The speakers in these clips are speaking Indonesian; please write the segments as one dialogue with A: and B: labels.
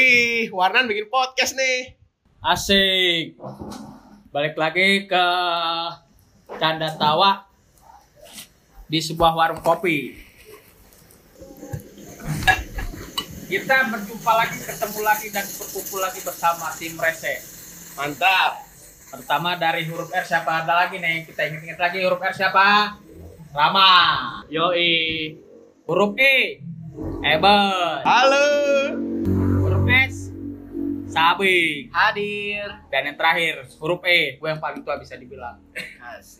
A: Wih, Warnan bikin podcast nih.
B: Asik. Balik lagi ke canda tawa di sebuah warung kopi. Kita berjumpa lagi, ketemu lagi dan berkumpul lagi bersama tim Rese.
A: Mantap.
B: Pertama dari huruf R siapa ada lagi nih? Kita ingat-ingat lagi huruf R siapa? Rama. Yoi. Huruf E. Eben.
A: Halo.
B: Huruf S Sabi Hadir Dan yang terakhir huruf E Gue yang paling tua bisa dibilang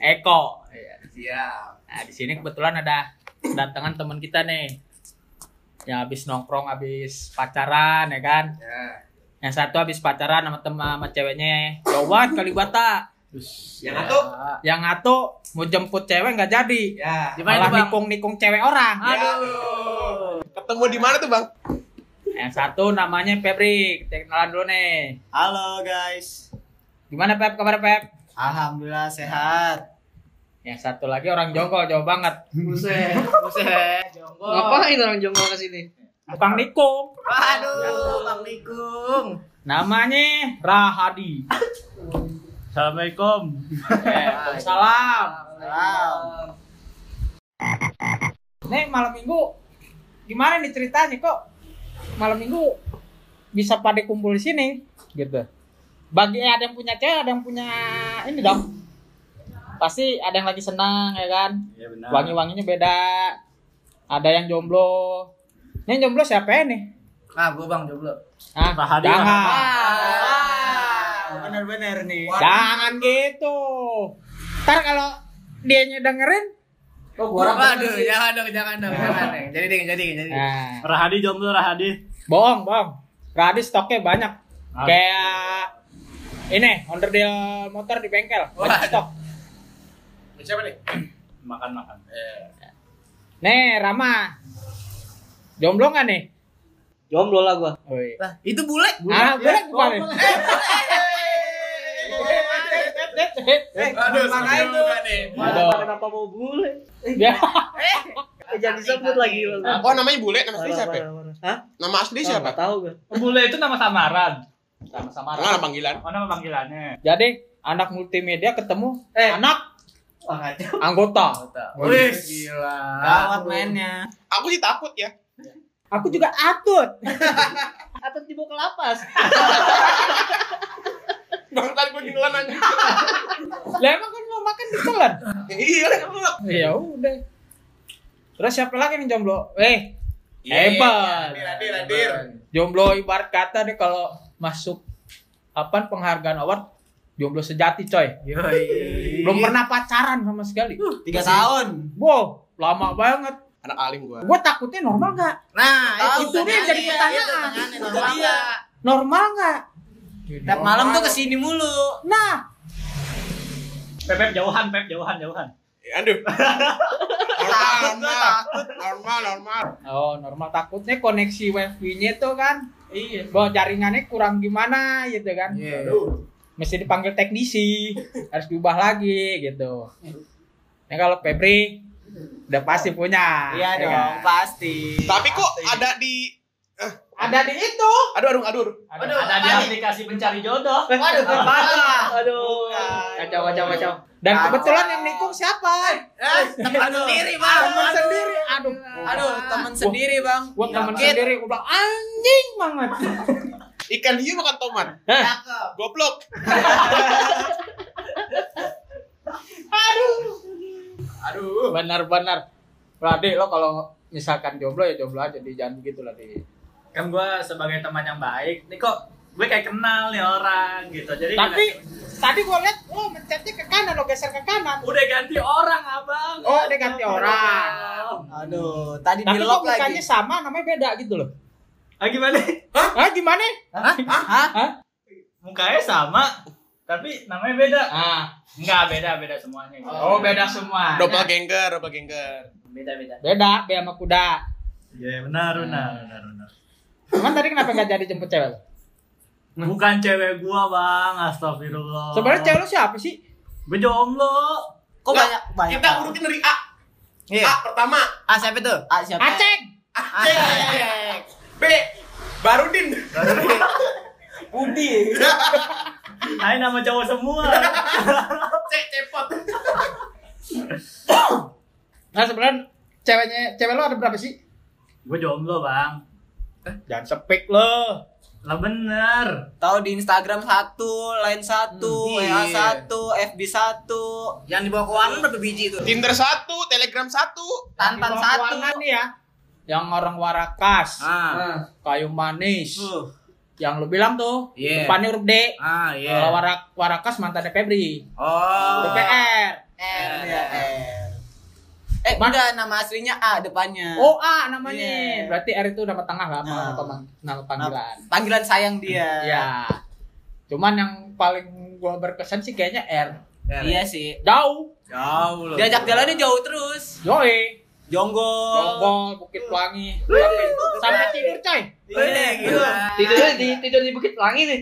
B: Eko
A: Siap.
B: Nah di sini kebetulan ada Kedatangan teman kita nih Yang habis nongkrong habis pacaran ya kan
A: Ya.
B: Yang satu habis pacaran sama teman sama ceweknya Jawaban Kalibata Ya.
A: Yang satu.
B: Yang satu mau jemput cewek nggak jadi
A: Ya.
C: Di mana
B: Malah
C: itu, Bang?
B: nikung-nikung cewek orang
A: Aduh. Ketemu di mana tuh, Bang?
B: Yang satu namanya Febri Kita kenalan dulu nih
C: Halo guys,
B: Gimana Pep kabar Pep?
C: alhamdulillah sehat.
B: Yang satu lagi orang jonggol jauh banget.
C: Buset, buset, jonggo.
D: orang jonggol ke sini?
B: Tukang nikung.
C: Waduh, Ya, Bang Nikung.
B: Namanya Rahadi.
D: Assalamualaikum.
B: Eh, salam.
C: Wow.
B: Nih malam minggu gimana nih ceritanya kok malam minggu bisa pada kumpul di sini gitu. Bagi ada yang punya cewek, ada yang punya ini dong. Pasti ada yang lagi senang ya kan.
D: Iya
E: Nah.
D: benar.
B: Wangi-wanginya beda. Ada yang jomblo. Ini yang jomblo siapa ya nih?
C: Ah, gua Bang jomblo.
B: Ah,
D: Rahadi,
B: jangan.
C: Bener-bener nih.
B: Jangan gitu. Ntar kalau dianya dengerin,
C: Waduh, jangan dong, jangan dong, jangan dong. Jadi ding, jadi jadi.
B: nah,
D: Rahadi jomblo Rahadi.
B: bohong, bohong. Radis stoknya banyak.
D: Ah.
B: Kayak ini, onderdil motor di bengkel, banyak stok.
A: Siapa nih?
D: Makan makan.
B: Eh. Nih, Rama. Jomblo nggak nih?
D: Jomblo lah gua. ya,
B: Woi.
C: Lah, itu bule.
B: Ah, boleh bukan?
A: Aduh, makanya tuh.
D: Kenapa mau bule? Eh,
B: Ya,
D: Jangan disebut lagi lu.
A: Oh, namanya Bule, nama asli siapa? ya? Nama
D: Oh,
A: asli siapa?
D: Tahu gua. Bule itu nama samaran.
B: sama-sama.
A: Enggak nama panggilan.
D: Oh nama panggilannya.
B: Jadi anak multimedia ketemu
C: Eh.
B: anak
C: Wah, kacau.
B: anggota.
C: Wih,
A: gila.
C: Gawat mainnya.
A: Aku sih takut ya.
B: Aku juga atut.
D: Atau dibawa ke lapas.
A: Bang tadi gua duluan anjing.
B: Lah emang kan mau makan di telan.
A: Iya, kan lu.
B: Ya udah. Terus siapa lagi nih jomblo? Eh, hebat.
A: Hadir, hadir, hadir.
B: Jomblo ibarat kata deh kalau masuk apa penghargaan award jomblo sejati coy.
C: Yoi.
B: Belum pernah pacaran sama sekali.
C: tiga tahun.
B: Wow, lama banget.
A: Anak alim gua.
B: Gue takutnya normal nggak?
C: Nah,
B: Tahu,
C: itu dia
B: pertanyaannya,
C: jadi
B: itu
C: pertanyaan.
B: pertanyaannya,
C: Itu dia.
B: Normal nggak?
C: Tiap malam tuh kesini mulu.
B: Nah,
D: Pep jauhan, Pep jauhan, jauhan.
A: Ya, Aduh. Normal, normal. Normal, normal.
B: oh normal takutnya koneksi wifi-nya tuh kan. Iya. Bahwa jaringannya kurang gimana gitu kan.
E: Iya.
B: mesti dipanggil teknisi harus diubah lagi gitu nah kalau Febri udah pasti punya
C: Iya
B: ya
C: dong,
B: kan?
C: pasti.
A: Tapi kok ada di eh,
B: ada di itu
A: aduh aduh aduh. aduh.
B: ada,
D: Ada di aplikasi pencari jodoh.
C: Waduh, parah.
D: Eh, Aduh.
E: Eh,
B: kacau kacau kacau dan kebetulan yang nikung siapa
C: Eh, teman sendiri, Bang.
B: teman sendiri aduh
C: Aduh, teman sendiri, Bang.
B: gua teman
C: Yakin.
B: sendiri gua bilang anjing banget
A: Ikan hiu makan tomat.
C: Cakep.
A: Goblok. aduh. Aduh.
B: benar benar Radek lo kalau misalkan jomblo ya jomblo aja di jangan begitu lah di
D: Kan gua sebagai teman yang baik. Nih kok gue kayak kenal nih orang gitu. Jadi
C: Iya.
B: tapi tadi gua lihat lo mencetnya ke kanan lo geser ke kanan
D: udah ganti orang abang
B: Oh, udah ganti orang.
C: Aduh, tadi di
B: tapi kok
C: lock
B: mukanya
C: lagi.
B: sama namanya beda gitu loh
D: ah gimana
B: ah gimana
C: Hah? Hah?
D: mukanya sama tapi namanya beda
B: ah
D: enggak beda beda semuanya gitu.
B: Oh, beda semua.
A: Doppelganger, doppelganger.
D: beda beda
B: Beda, B sama kuda.
D: ya benar benar benar benar
B: Cuman tadi kenapa nggak jadi jemput cewek? lu?
D: bukan cewek gua bang astagfirullah
B: Sebenarnya cewek lu siapa sih?
D: gue jomblo
C: Oh. Kok
A: Lah,
C: banyak banyak.
A: Kita urutin dari A.
C: Iya.
A: A pertama,
C: Ah, siapa tuh? Ah, siapa?
B: Aceng.
C: Aceh.
A: B, Barudin.
B: Budi.
D: Ayo nama cowok semua.
A: Cek cepot.
B: Nah sebenarnya ceweknya cewek lo ada berapa sih?
D: Gue jomblo bang.
B: Jangan sepik lo.
D: Lah bener.
E: Tahu di Instagram satu, Line satu,
C: Hmm,
E: WA
C: iya.
E: satu, FB satu,
C: Yang dibawa ke warung berapa biji tuh?
A: Tinder satu, Telegram satu.
E: Tantan
B: Yang
E: satu.
B: warna nih ya. Yang orang warakas,
C: Ah.
B: kayu manis.
C: Uh.
B: Yang lo bilang tuh,
C: Iya.
B: depannya huruf D.
C: Ah, iya.
B: Kalau warak, warakas mantannya Febri.
C: Oh.
B: Huruf PR.
E: R,
C: Iya.
E: ya, Eh, enggak nama aslinya A depannya.
B: Oh A namanya.
E: Iya.
B: Berarti R itu nama tengah lah,
E: Nah.
B: nama, pemang- nama panggilan.
E: Panggilan sayang
F: Nah.
E: dia.
B: Ya. Cuman yang paling gua berkesan sih kayaknya R.
E: Iya sih.
B: Jauh.
C: Jauh loh.
E: Diajak jalannya jauh terus.
B: Joy.
E: Jonggol.
B: Jonggol, Bukit Pelangi. Sampai, sampai tidur coy.
C: Iya, gila.
F: tidurnya di tidur di bukit pelangi nih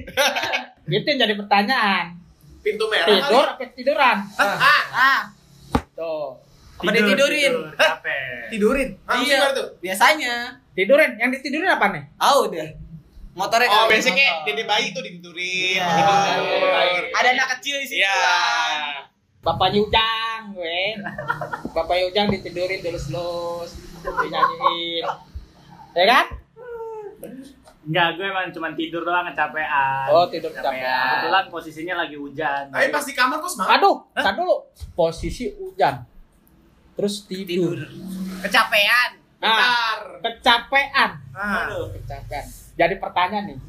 B: Itu yang jadi pertanyaan.
A: Pintu
E: Iya,
A: merah.
B: Tidur apa tiduran?
E: Ah, ah.
B: Tuh.
E: Apa ditidurin?
D: tidur, Capek.
C: Tidurin.
A: Langsung
E: Iya.
A: keluar tuh.
E: Biasanya.
B: Tidurin, yang ditidurin apa nih?
E: Ah, udah. Motornya
A: Oh,
E: kali,
A: basicnya
E: motor.
A: dede bayi tuh dituturin.
E: Iya. Ada anak kecil di situ.
A: Iya.
E: kan.
B: Bapaknya Ujang, gue. Bapaknya Ujang ditidurin terus-terus, dinyanyiin. Ya kan?
D: Enggak, gue emang cuma tidur doang kecapean.
B: Oh, tidur kecapean.
D: Kebetulan posisinya lagi hujan.
A: Tapi pas di kamar kok semangat.
B: Aduh, tar dulu. Posisi hujan. Terus tidur.
E: Tidur. Kecapean.
B: Nah,
A: Bentar.
B: kecapean.
C: Nah.
B: Kecapean. Jadi pertanyaan nih.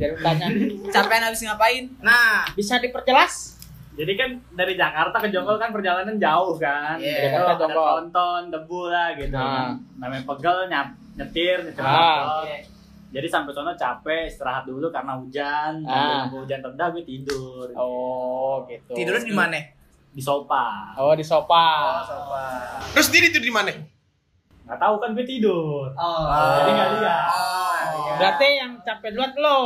B: Jadi pertanyaan.
E: Kecapean habis ngapain?
C: Nah.
B: Bisa diperjelas?
D: Jadi kan dari Jakarta ke Jonggol kan perjalanan jauh kan.
C: Iya.
D: Gitu,
B: Jakarta,
D: ada
B: Jonggol.
D: tonton, debu lah gitu.
B: Nah.
D: Namanya pegel, nyap, nyetir, nyetir
B: Ah.
D: motor. Jadi sampai sono capek, istirahat dulu karena hujan. Sambil
B: Ah.
D: nunggu hujan reda gue tidur.
B: Oh, gitu.
C: Tidurnya
D: Iya.
C: di mana?
D: Di sofa.
B: Oh, di sofa.
A: Terus dia tidur di mana?
D: Nggak tahu kan gue tidur.
E: Oh.
D: Jadi nggak lihat.
B: Berarti yang capek duluan lo.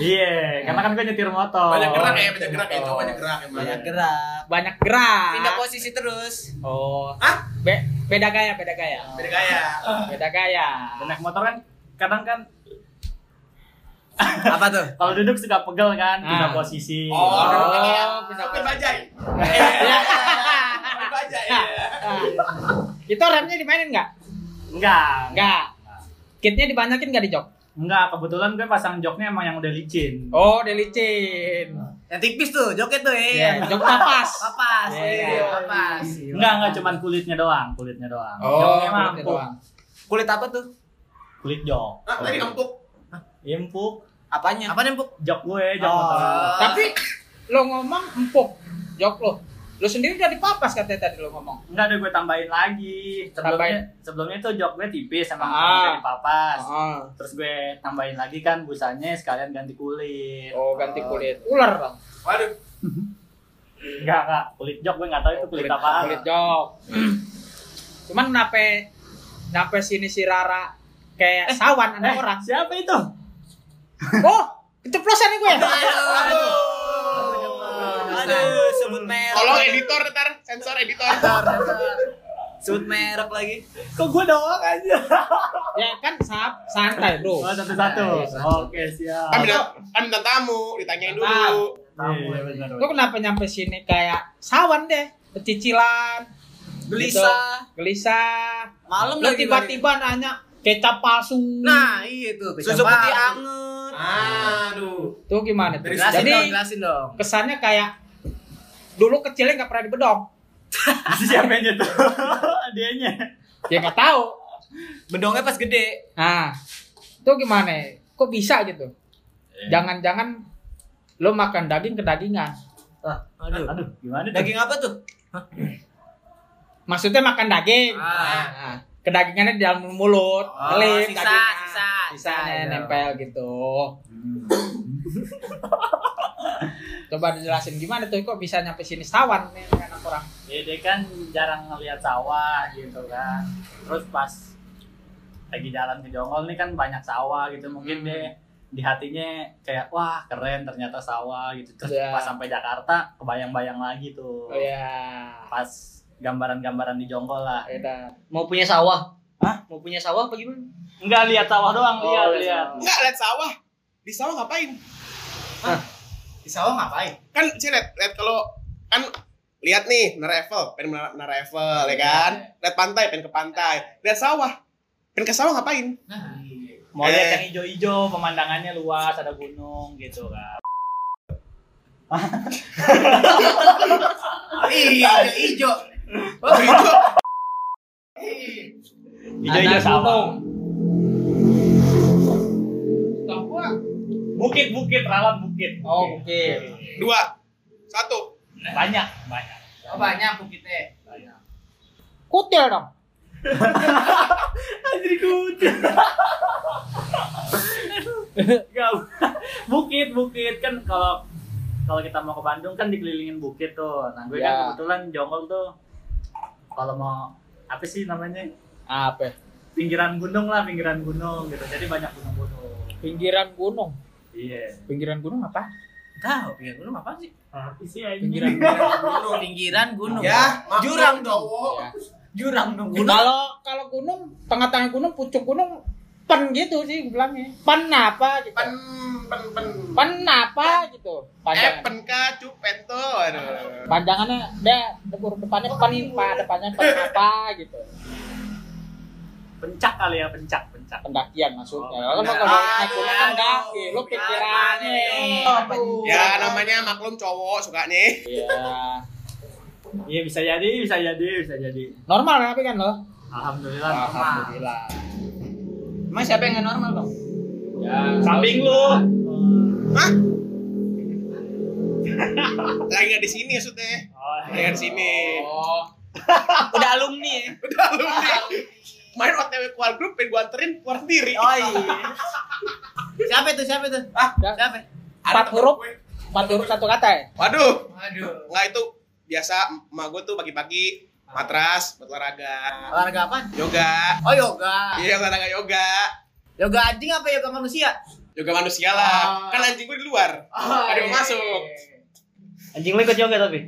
D: Iya, karena kan gue nyetir motor. Gitu.
A: Banyak gerak ya,
B: iya,
A: banyak gerak ya,
B: betul.
A: cowok banyak gerak emang.
E: Banyak gerak.
B: Banyak gerak.
E: Pindah posisi terus.
B: Oh.
A: Hah?
B: Be- beda gaya, beda gaya.
A: Beda gaya.
B: Beda gaya.
D: Dan naik motor kan kadang kan
C: Apa tuh?
D: kalau duduk suka pegel kan, pindah
B: Ah.
D: posisi.
A: Oh,
B: bisa
A: Sampai bajai. Sampai bajai.
B: Ah. Itu remnya dimainin nggak?
D: Enggak,
B: Nggak. Kitnya dibanyakin nggak di jok?
D: Enggak, kebetulan gue pasang joknya emang yang udah licin.
B: Oh, delicin.
C: Yang tipis tuh, joket
E: eh.
C: tuh,
B: Iya,
C: iya.
B: jok papas.
C: Papas,
B: Iya.
C: iya, papas.
D: Enggak, enggak cuman kulitnya doang, kulitnya doang.
C: Oh,
D: joknya mah
B: Kulitnya
D: empuk.
B: doang.
E: Kulit apa tuh?
D: Kulit jok.
A: Ah, tadi empuk.
D: Iya, empuk.
E: Apanya?
C: Apa nih, Puk?
D: Jok gue, jok
B: Oh.
D: motor.
B: Tapi lo ngomong empuk jok lo. Lo sendiri udah dipapas katanya tadi lo ngomong.
D: Enggak ada gue tambahin lagi. Sebelumnya
B: Tambahin.
D: sebelumnya tuh jok gue tipis sama
B: Ah.
D: dari papas.
B: Ah.
D: Terus gue tambahin lagi kan busanya sekalian ganti kulit.
B: Oh, ganti kulit. Ular bang.
A: Waduh.
D: Enggak, enggak. Kulit jok gue enggak tahu itu kulit, apaan.
B: Kulit jok. Cuman kenapa kenapa sini si Rara kayak sawan ada
D: Eh,
B: orang.
D: Siapa itu?
B: Oh, keceplosan nih gue.
E: Aduh.
C: Aduh.
E: Aduh, sebut merek.
A: Tolong editor ntar, sensor editor.
E: Sebut merek lagi.
D: Kok gue doang aja?
B: ya kan sab, santai bro.
D: Oh,
B: Nah,
D: satu-satu.
B: iya,
D: Oke, siap.
A: Kan bintang, kan bintang tamu, ditanyain dulu.
B: Iya,
D: Tamu ya benar.
B: Lo kenapa nyampe sini kayak sawan deh, pecicilan,
E: Gelisah.
B: gelisah.
E: Malam
B: Lo
E: lagi
B: tiba-tiba nanya kecap palsu.
C: Nah, iya tuh.
E: susu putih anget.
A: Aduh.
B: Tuh gimana tuh?
A: Dari
C: Jelasin
B: Jadi
C: dong, jelasin dong.
B: kesannya kayak dulu kecilnya nggak pernah dibedong.
D: Siapanya tuh? Dianya.
B: Dia Ya nggak tahu.
E: Bedongnya pas gede.
B: Nah, itu gimana? Kok bisa gitu?
C: Eh.
B: Jangan-jangan lo makan daging kedagingan.
C: Aduh.
D: Aduh, gimana tuh?
E: Daging apa tuh?
B: Maksudnya makan daging.
C: Ah.
B: Nah, kedagingannya di dalam mulut,
C: Oh,
B: Ngelim
C: sisa,
B: dagingnya.
C: sisa,
B: Sisanya
C: sisa.
B: nempel gitu. Coba dijelasin gimana tuh kok bisa nyampe sini sawan nih anak orang.
D: Ya, dia kan jarang ngelihat sawah gitu kan. Terus pas lagi jalan ke Jonggol nih kan banyak sawah gitu. Mungkin
B: Hmm.
D: deh di hatinya kayak wah keren ternyata sawah gitu. Terus
B: Iya.
D: pas sampai Jakarta kebayang-bayang lagi tuh.
B: Oh ya.
D: Pas gambaran-gambaran di Jonggol lah.
B: Edan.
F: mau punya sawah
D: Hah?
F: mau punya sawah apa gimana
D: Enggak lihat sawah doang,
F: Oh,
D: lihat
B: iya.
F: lihat
D: lihat.
F: sawah.
A: Enggak lihat sawah. Di sawah ngapain?
E: Di sawah ngapain?
A: Kan sih lihat lihat kalau kan lihat nih menara Eiffel, pengen menara, menara Eiffel ya kan. Lihat pantai, pengen ke pantai. Lihat sawah. Pengen ke sawah ngapain?
D: Mau lihat
A: Eh.
D: yang hijau-hijau, pemandangannya luas, ada gunung gitu kan.
E: Iya, ijo.
D: Hijau-hijau
B: Ada gunung.
D: sawah.
B: Tahu gua.
D: Bukit-bukit, ralat bukit.
B: Oh, oke.
A: Dua. Satu.
D: Banyak, banyak.
E: Oh, banyak bukitnya.
D: Banyak.
B: Kutil dong.
D: Jadi kucing. Enggak. Bukit, bukit kan kalau kalau kita mau ke Bandung kan dikelilingin bukit tuh. Nah, gue
B: Ya.
D: kan kebetulan jonggol tuh kalau mau apa sih namanya?
B: Apa?
D: Pinggiran gunung lah, pinggiran gunung gitu. Jadi banyak gunung-gunung.
B: Pinggiran gunung.
D: Iya.
B: Pinggiran gunung apa?
E: Tahu, pinggir gunung apa sih?
D: Apa sih
B: Pinggiran
D: anjing?
B: gunung.
E: Gunung
C: Pinggiran gunung.
E: Ya, jurang dong.
A: Oh,
B: Ya.
E: Jurang dong.
B: Kalau kalau gunung, tengah-tengah gunung, pucuk gunung, pen gitu sih bilangnya. Pen apa gitu?
A: Pen pen pen.
B: Pen apa gitu?
A: Eh,
B: Panjangan.
A: pen ka cupen tuh. Aduh.
B: Panjangannya dia huruf depannya pen, pa depannya pen apa gitu.
D: Pencak kali ya, pencak, pencak.
B: Pendakian maksudnya.
D: Oh,
B: Kalau
D: benar.
B: kalau naik
E: Aduh,
B: gunung kan
E: aduh.
B: daki, lu pikirannya.
E: Aduh.
A: Ya namanya maklum cowok sukanya.
B: Iya.
D: Iya bisa jadi, bisa jadi, bisa jadi.
B: Normal tapi kan lo?
D: Alhamdulillah.
B: Alhamdulillah.
E: Emang siapa yang nggak normal bang?
B: Ya,
D: Samping lu.
A: Lagi nggak di sini maksudnya.
D: Oh,
A: Lagi nggak di sini.
B: Oh,
E: Udah alumni ya.
A: Udah lu nih. Main OTW keluar grup, pengen gua anterin keluar sendiri.
E: Oh iya. siapa itu? Siapa itu? Ah,
B: Ya.
E: siapa?
B: empat huruf, empat huruf satu kata ya?
A: Waduh.
E: Aduh.
A: Enggak itu biasa emak gue tuh pagi-pagi matras buat olahraga
E: Olahraga apa?
A: yoga
E: Oh yoga.
A: iya olahraga yoga
E: Yoga anjing apa yoga manusia?
A: yoga manusia lah kan anjing gue di luar
E: Ah,
A: ada
E: iya,
A: yang masuk
D: Anjing lu ikut yoga tapi.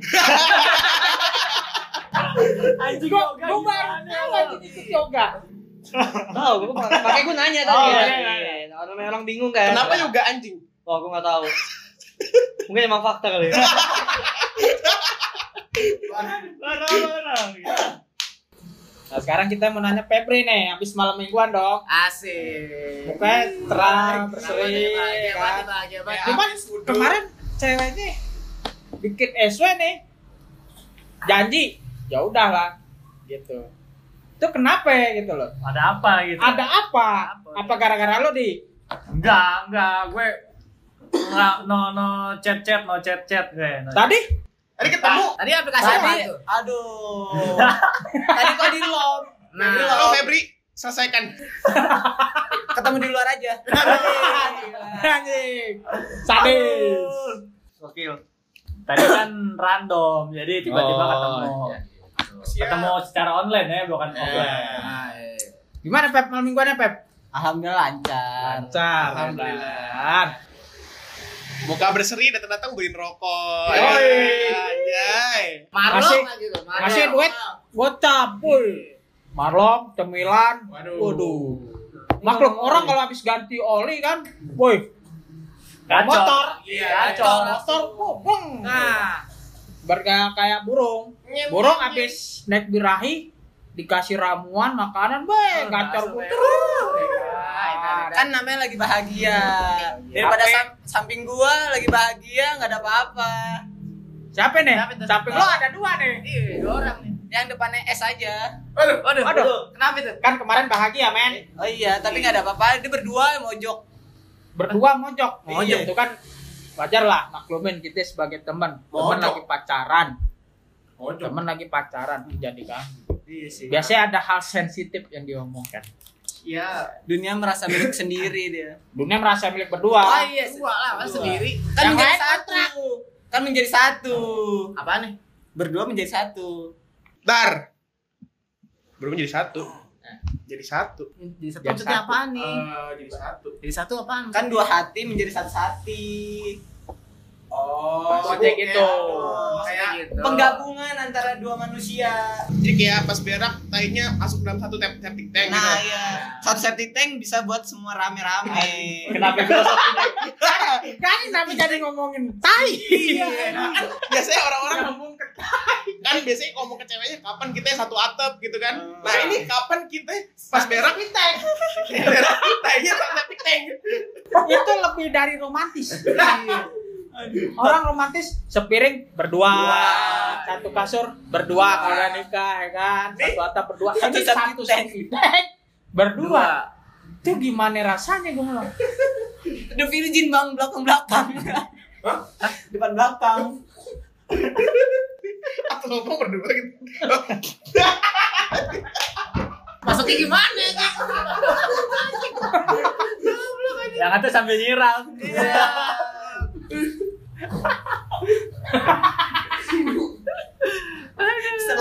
D: Anjing
B: Gua, gua baru tahu anjing ikut yoga.
F: Tahu, gue pakai gue nanya tadi.
D: Oh,
B: Gitu.
D: iya,
F: kan.
D: iya, iya.
F: Iya, Orang orang bingung kan.
A: kenapa yoga anjing
F: Wah, gue nggak tahu. Mungkin emang fakta kali. ya.
B: Nah, sekarang kita mau nanya Febri nih, habis malam mingguan dong.
E: Asik.
B: Mukanya terang,
E: Bahagia,
B: berseri,
E: bahagia,
B: kan.
E: bahagia,
D: Ya
E: bahagia.
B: Cuma kemarin ceweknya bikin SW nih. Janji, ya udahlah gitu. Itu kenapa ya gitu loh?
D: Ada apa gitu?
B: Ada apa?
E: Apa?
B: Apa gara-gara lo di?
D: Enggak, enggak, gue enggak no no chat chat no chat chat gue. No
B: Tadi?
A: tadi ketemu
E: Ah, Tadi aplikasi apa
B: Tadi-
E: itu?
B: Aduh.
E: Tadi kok di lom.
A: nah,
E: Di
A: lo
E: lom.
A: Febri selesaikan
E: Ketemu di luar aja.
B: Anjing.
D: chat.
B: Sadis.
D: Gokil. Tadi kan random, jadi tiba-tiba
B: Oh,
D: ketemu.
B: iya.
D: Ketemu secara online ya, bukan offline.
B: Gimana Pep malam mingguannya Pep?
E: Alhamdulillah lancar.
B: Lancar.
E: Alhamdulillah.
A: muka berseri datang-datang beliin rokok
B: Yoi.
A: Anjay.
E: Marlok
B: Masih-
E: lagi tuh.
B: masih duit? Gocap, full. Marlong, cemilan,
A: Waduh.
B: Makhluk orang kalau habis ganti oli kan, woi,
D: Motor.
E: Iya,
D: Gacor.
B: motor kupung.
E: Nah,
B: Bergaya kayak burung. Burung habis naik birahi dikasih ramuan makanan, baik, gacor
E: langsung,
B: puter.
E: kan namanya lagi bahagia. Daripada sam- samping gua lagi bahagia, nggak ada apa-apa.
B: Siapa nih?
E: Siapa tuh?
B: Samping lo ada dua nih.
E: Ih, dua orang nih. Yang depannya S aja.
A: Waduh.
E: Waduh,
B: Waduh.
E: kenapa itu?
B: Kan kemarin bahagia, men.
E: Oh iya, tapi nggak ada apa-apa. Dia berdua mojok.
B: Berdua mojok.
E: Mojok.
B: Mojok itu kan wajar lah maklumin kita sebagai teman. Teman
A: Mojok.
B: lagi pacaran.
A: Mojok.
B: Teman lagi pacaran dijadikan.
E: Iya sih.
B: Biasanya ada hal sensitif yang diomongkan.
E: Iya, dunia merasa milik sendiri dia.
B: Dunia merasa milik berdua.
E: Oh iya, dua lah, masa sendiri. Kan
B: Yang
E: menjadi
B: lain
E: satu. Kan menjadi satu. Apa nih? Berdua menjadi satu.
A: dar belum jadi satu jadi satu
E: Jadi satu
B: Jadi maksudnya satu.
E: apaan
A: jadi satu
E: Jadi satu apaan? Kan dua hati menjadi satu hati.
C: Oh,
B: Pas
E: gitu. Iya.
B: ojek itu.
C: kayak gitu.
E: Oh, Penggabungan antara dua manusia.
A: Jadi kayak pas berak tainya masuk dalam satu tep septic tank
E: nah,
A: gitu.
E: iya. Satu septic tank bisa buat semua rame-rame.
F: Kenapa filosofi
E: Iya.
B: Kan kenapa jadi ngomongin tai?
A: Biasanya orang-orang kan biasanya ngomong ke ceweknya kapan kita satu atap gitu kan. Nah, ini kapan kita pas berak nih tank. berak iya, nih tainya satu septic tank.
B: Itu lebih dari romantis. Orang romantis sepiring berdua, satu kasur berdua kalau udah nikah ya kan, satu atap berdua. Ini satu septic tank berdua. Itu gimana rasanya gue ngomong?
E: The Virgin bang belakang belakang. Depan belakang.
A: Atau ngomong berdua gitu.
C: Masuknya gimana?
D: Yang itu sambil nyiram.
E: Iya.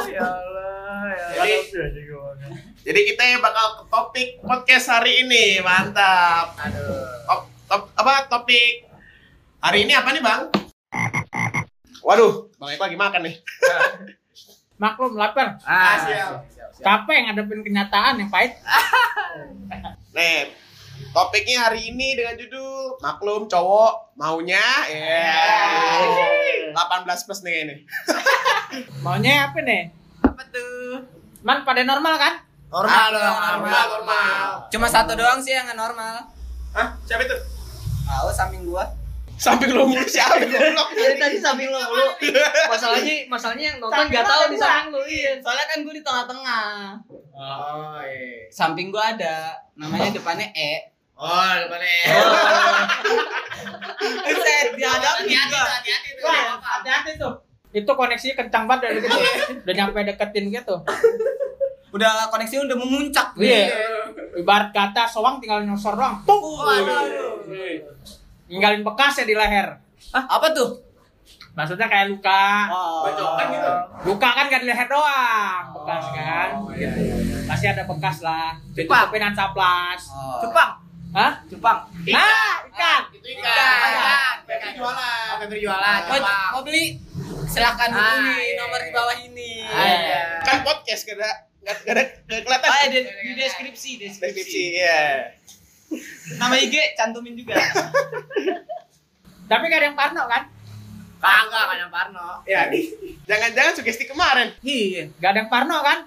D: Ya
E: Iya.
D: Allah, ya
A: Jadi-
D: Allah.
A: Jadi kita bakal ke topik podcast hari ini. Mantap.
D: Aduh.
A: Top, top, apa topik hari ini apa nih, Bang? Waduh, Bang Eko lagi makan nih.
B: Maklum lapar,
C: Ah,
A: siap.
C: siap, siap.
B: capek ngadepin kenyataan yang pahit.
A: Nih, topiknya hari ini dengan judul maklum cowok maunya ya 18 plus nih ini.
B: Maunya apa nih?
E: Apa tuh?
B: Man pada normal kan?
E: Normal
C: dong,
E: dong,
A: Normal, normal.
E: Cuma satu doang sih yang nggak normal.
A: Hah? Siapa itu?
E: Tahu samping gua.
A: Samping lo mulu siapa goblok.
F: Dari tadi samping lo mulu. Masalahnya masalahnya yang nonton
B: Samping
F: nggak
B: lo
F: tahu
B: ada
F: di
B: gua.
F: samping lo iya.
E: Soalnya kan gua di tengah-tengah.
C: Oh, iya.
E: Samping gua ada namanya depannya E.
C: Oh, depannya.
E: Buset, dihadapi gua. kan.
B: Wah, hati-hati tuh. Itu koneksinya kencang banget dari gitu. Udah nyampe deketin gitu.
E: Udah koneksi udah memuncak.
B: Iya. Ibarat kata soang tinggal nyosor doang. Tung. Ninggalin bekas ya di leher.
E: Apa tuh?
B: Maksudnya kayak luka.
A: Bacokan gitu.
B: Luka kan gak di leher doang, bekas kan.
C: Iya, iya, iya.
B: Pasti ada bekas lah.
E: Cepat.
B: Ditutupin ansaplas.
E: Oh.
B: Cupang. Hah?
E: Cupang.
B: Ah, ikan.
C: Itu
E: Ikan.
C: Ikan jualan. Ikan jualan.
E: Mau, mau Oh, beli? Silahkan
C: Ah,
E: hubungi
C: iya.
E: nomor di bawah ini.
C: Iya.
A: Kan podcast gak ada gak gak ada gak kelihatan.
F: Oh, iya.
E: Ah, di, di deskripsi,
A: Deskripsi
E: deskripsi.
A: ya.
E: Nama IG cantumin juga.
B: Tapi gak ada yang parno kan?
C: Kagak, kan yang Parno.
A: Ya nih. Jangan-jangan sugesti kemarin.
E: Iya.
B: Gak ada yang parno kan?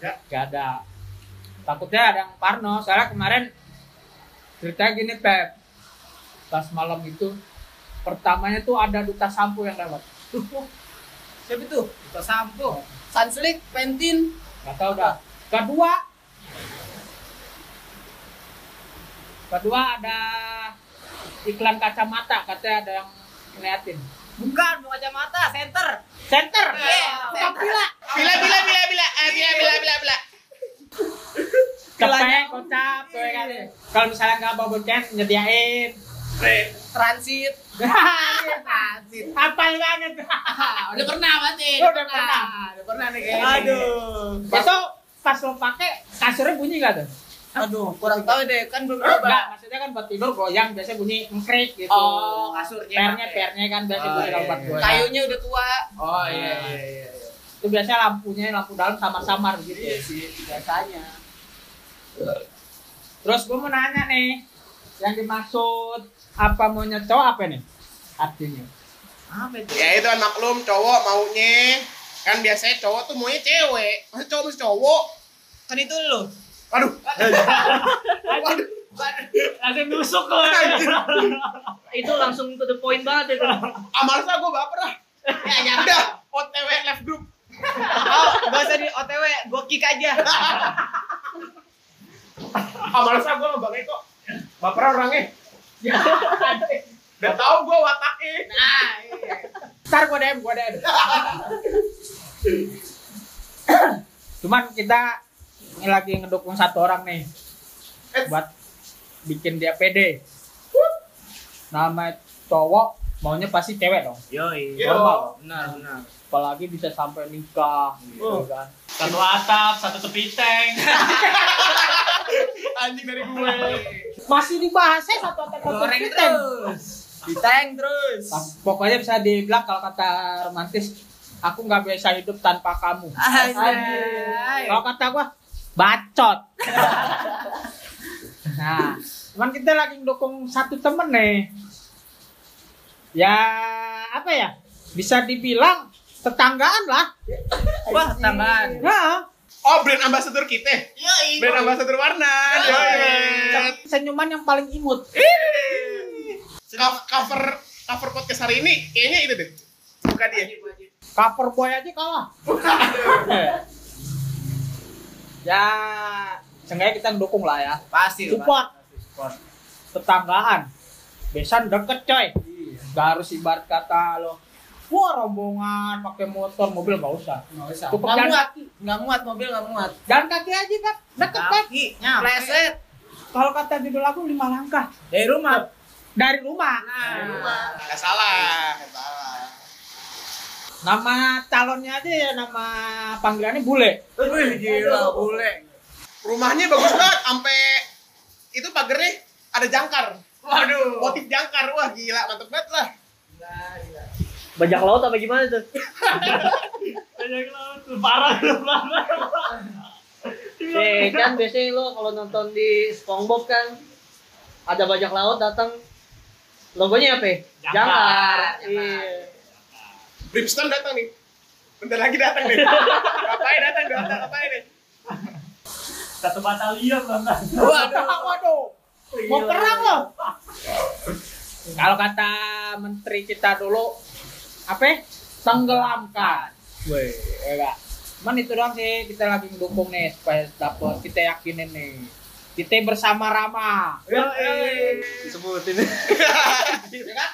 C: Kagak.
B: Gak ada. Takutnya ada yang Parno. Soalnya kemarin ceritanya gini Pep. Pas malam itu pertamanya tuh ada duta sampo yang lewat.
E: Siapa tuh?
C: Kita sampo.
E: Sanslik, Pentin.
B: Gak tau dah. Kedua. Kedua ada iklan kacamata katanya ada yang ngeliatin.
E: Bukan, mau kacamata, center.
B: Center.
E: Iya,
B: Kapila.
A: Bila bila bila bila eh, bila bila bila bila.
B: Kepeng, kocap, tuh ya kan.
C: Iya.
B: Kalau misalnya nggak bawa bocet, nyediain.
A: Nih.
E: Transit.
B: Apal banget.
C: Ah, udah pernah Iya, berarti.
B: Udah pernah.
C: Udah pernah nih kayaknya.
E: Aduh.
B: Itu pas lo pakai kasurnya bunyi nggak tuh?
E: Aduh, kurang tahu deh, kan belum
B: Enggak,
E: coba.
B: maksudnya kan buat tidur goyang biasanya bunyi ngkrik gitu.
C: Oh, kasurnya.
B: Pernya pernya kan biasanya
C: Oh,
B: bunyi kalau
C: iya,
B: buat
C: iya.
B: goyang.
E: Kayunya udah tua.
C: Oh iya iya iya. iya.
B: Itu biasanya lampunya lampu dalam samar-samar gitu.
C: Iya sih.
E: Biasanya.
B: Terus gue mau nanya nih, yang dimaksud apa mau cowok apa nih? Artinya.
C: Apa itu?
A: Ya itu kan maklum cowok maunya kan biasanya cowok tuh maunya cewek. Masa cowok mesti cowok?
E: Kan itu lu.
A: Aduh. Waduh.
B: Ada nusuk
F: Itu langsung to the point banget itu.
A: Ah males lah gue baper lah. Ya ya udah. OTW left group.
E: Oh, gak usah di OTW, gua kick aja.
A: Ah males lah gue sama Bang Eko. Baper orangnya. Ya. Udah tau gue wataknya.
B: Ntar gue DM, gue DM. Cuman kita ini lagi ngedukung satu orang nih
E: Eh.
B: buat bikin dia pede. Nama cowok maunya pasti cewek dong.
D: Yoi.
A: Yo.
B: Normal.
C: Benar benar.
B: Apalagi bisa sampai nikah gitu
E: Oh.
B: kan.
D: Satu atap, satu tepiteng.
A: Anjing dari gue.
B: Masih dibahasnya satu atap
E: Goreng
B: kompeten.
E: terus. Diteng Gitu. terus.
B: Pokoknya bisa dibilang kalau kata romantis, aku nggak bisa hidup tanpa kamu.
E: Anjay.
B: Kalau kata gua bacot. nah, cuman kita lagi mendukung satu temen nih. Ya apa ya? Bisa dibilang tetanggaan lah.
E: Wah, tambahan.
B: Nah,
A: Oh, brand ambassador kita. Brand ambassador warna. Yoi.
B: senyuman yang paling imut.
A: Co- Cover cover podcast hari ini kayaknya itu deh. Bukan dia.
B: Cover boy aja kalah. ya, seenggaknya kita mendukung lah ya.
E: Pasti. lu, Pak.
B: Support. Tetanggaan. Besan deket coy.
C: Iya.
B: Gak harus ibarat kata lo. Wah rombongan pakai motor mobil nggak usah.
C: Nggak usah.
B: Cukup
E: Nggak
B: jalan
E: muat.
B: kaki.
E: Nggak muat mobil nggak muat.
B: Jalan kaki aja kan. Deket
C: Nah.
B: kan.
A: Iya.
E: Pleset.
B: Kalau kata judul aku lima langkah
C: Dari rumah.
B: dari rumah.
A: Enggak salah.
B: Nama calonnya aja ya nama panggilannya bule.
E: Wih, gila bule.
A: Rumahnya bagus banget sampai itu pagernya ada jangkar.
E: Waduh.
A: Motif jangkar. Wah, gila, mantep banget lah.
F: Bajak laut apa gimana tuh? Eh kan biasanya lo kalau nonton di SpongeBob kan ada bajak laut datang logonya apa? ya?
D: Jangkar.
F: Jangkar. Iya.
A: Brimstone datang nih. Bentar lagi datang nih. ngapain datang? Datang ngapain nih?
D: Satu batalion bahkan.
B: Waduh, waduh. Mau perang loh. Kalau kata menteri kita dulu apa? ya? Tenggelamkan. Weh, ya enggak. Cuman itu doang sih kita lagi mendukung nih supaya dapat kita yakinin nih. Kita bersama Rama.
F: Disebutin.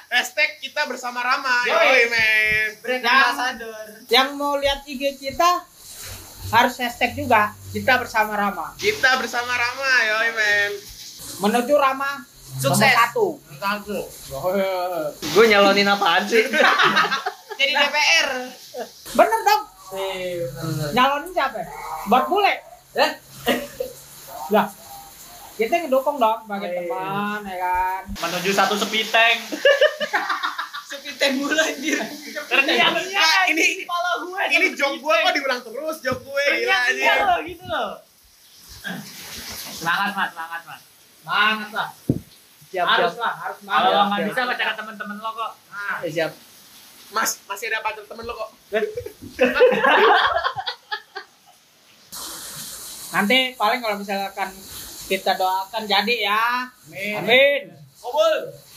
A: Hashtag kita bersama Rama.
E: Yoi.
A: Yoi, men.
E: Brand
B: Yang-
E: ambassador.
B: Yang mau lihat IG kita harus hashtag juga kita bersama Rama.
A: Kita bersama Rama. Yoi, men.
B: Menuju Rama
E: Sukses.
B: nomor satu.
E: Satu.
F: Gue nyalonin apaan sih?
E: Jadi DPR.
B: Bener dong. Nyalonin siapa? Buat bule. Ya?
E: Eh?
B: Lah. Kita ngedukung dong
E: Iya,
B: sebagai teman ya kan.
D: Menuju satu sepiteng.
E: Sepiten bule anjir. Iya.
A: Nah, ini ini job gue kok diulang terus job gue
E: Iya,
A: gila anjing.
D: gitu loh. Semangat mas, semangat mas.
B: Banget lah. Harus
F: Siap-siap.
B: lah, harus
D: Kalau
B: banget.
D: lo nggak bisa baca ke temen-temen lo kok.
E: Eh,
F: Siap.
A: Mas, masih ada pacar temen lo kok.
B: Nanti paling kalau misalkan kita doakan jadi ya.
E: Amin.
B: Amin.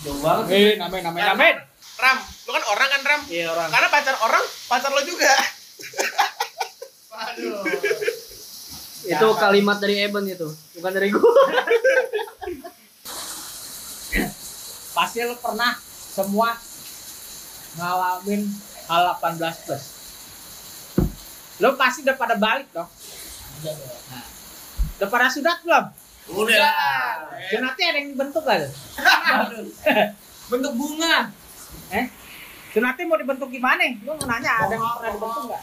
F: Jauh banget.
B: Amin, amin, amin, amin.
A: Ram, lo kan orang kan Ram.
F: Iya orang.
A: Karena pacar orang, pacar lo juga.
E: Waduh.
B: Ya.
F: Itu kalimat dari Eben itu, bukan dari gue.
B: Pasti lo pernah semua ngalamin hal 18 plus. Lo pasti udah pada balik dong. Nah. Udah pada sudah belum?
E: Udah.
B: Dan nanti ada yang dibentuk gak tuh?
E: Bentuk bunga.
B: Dan Eh? Ya, nanti mau dibentuk gimana? Gue mau nanya, ada yang pernah dibentuk gak?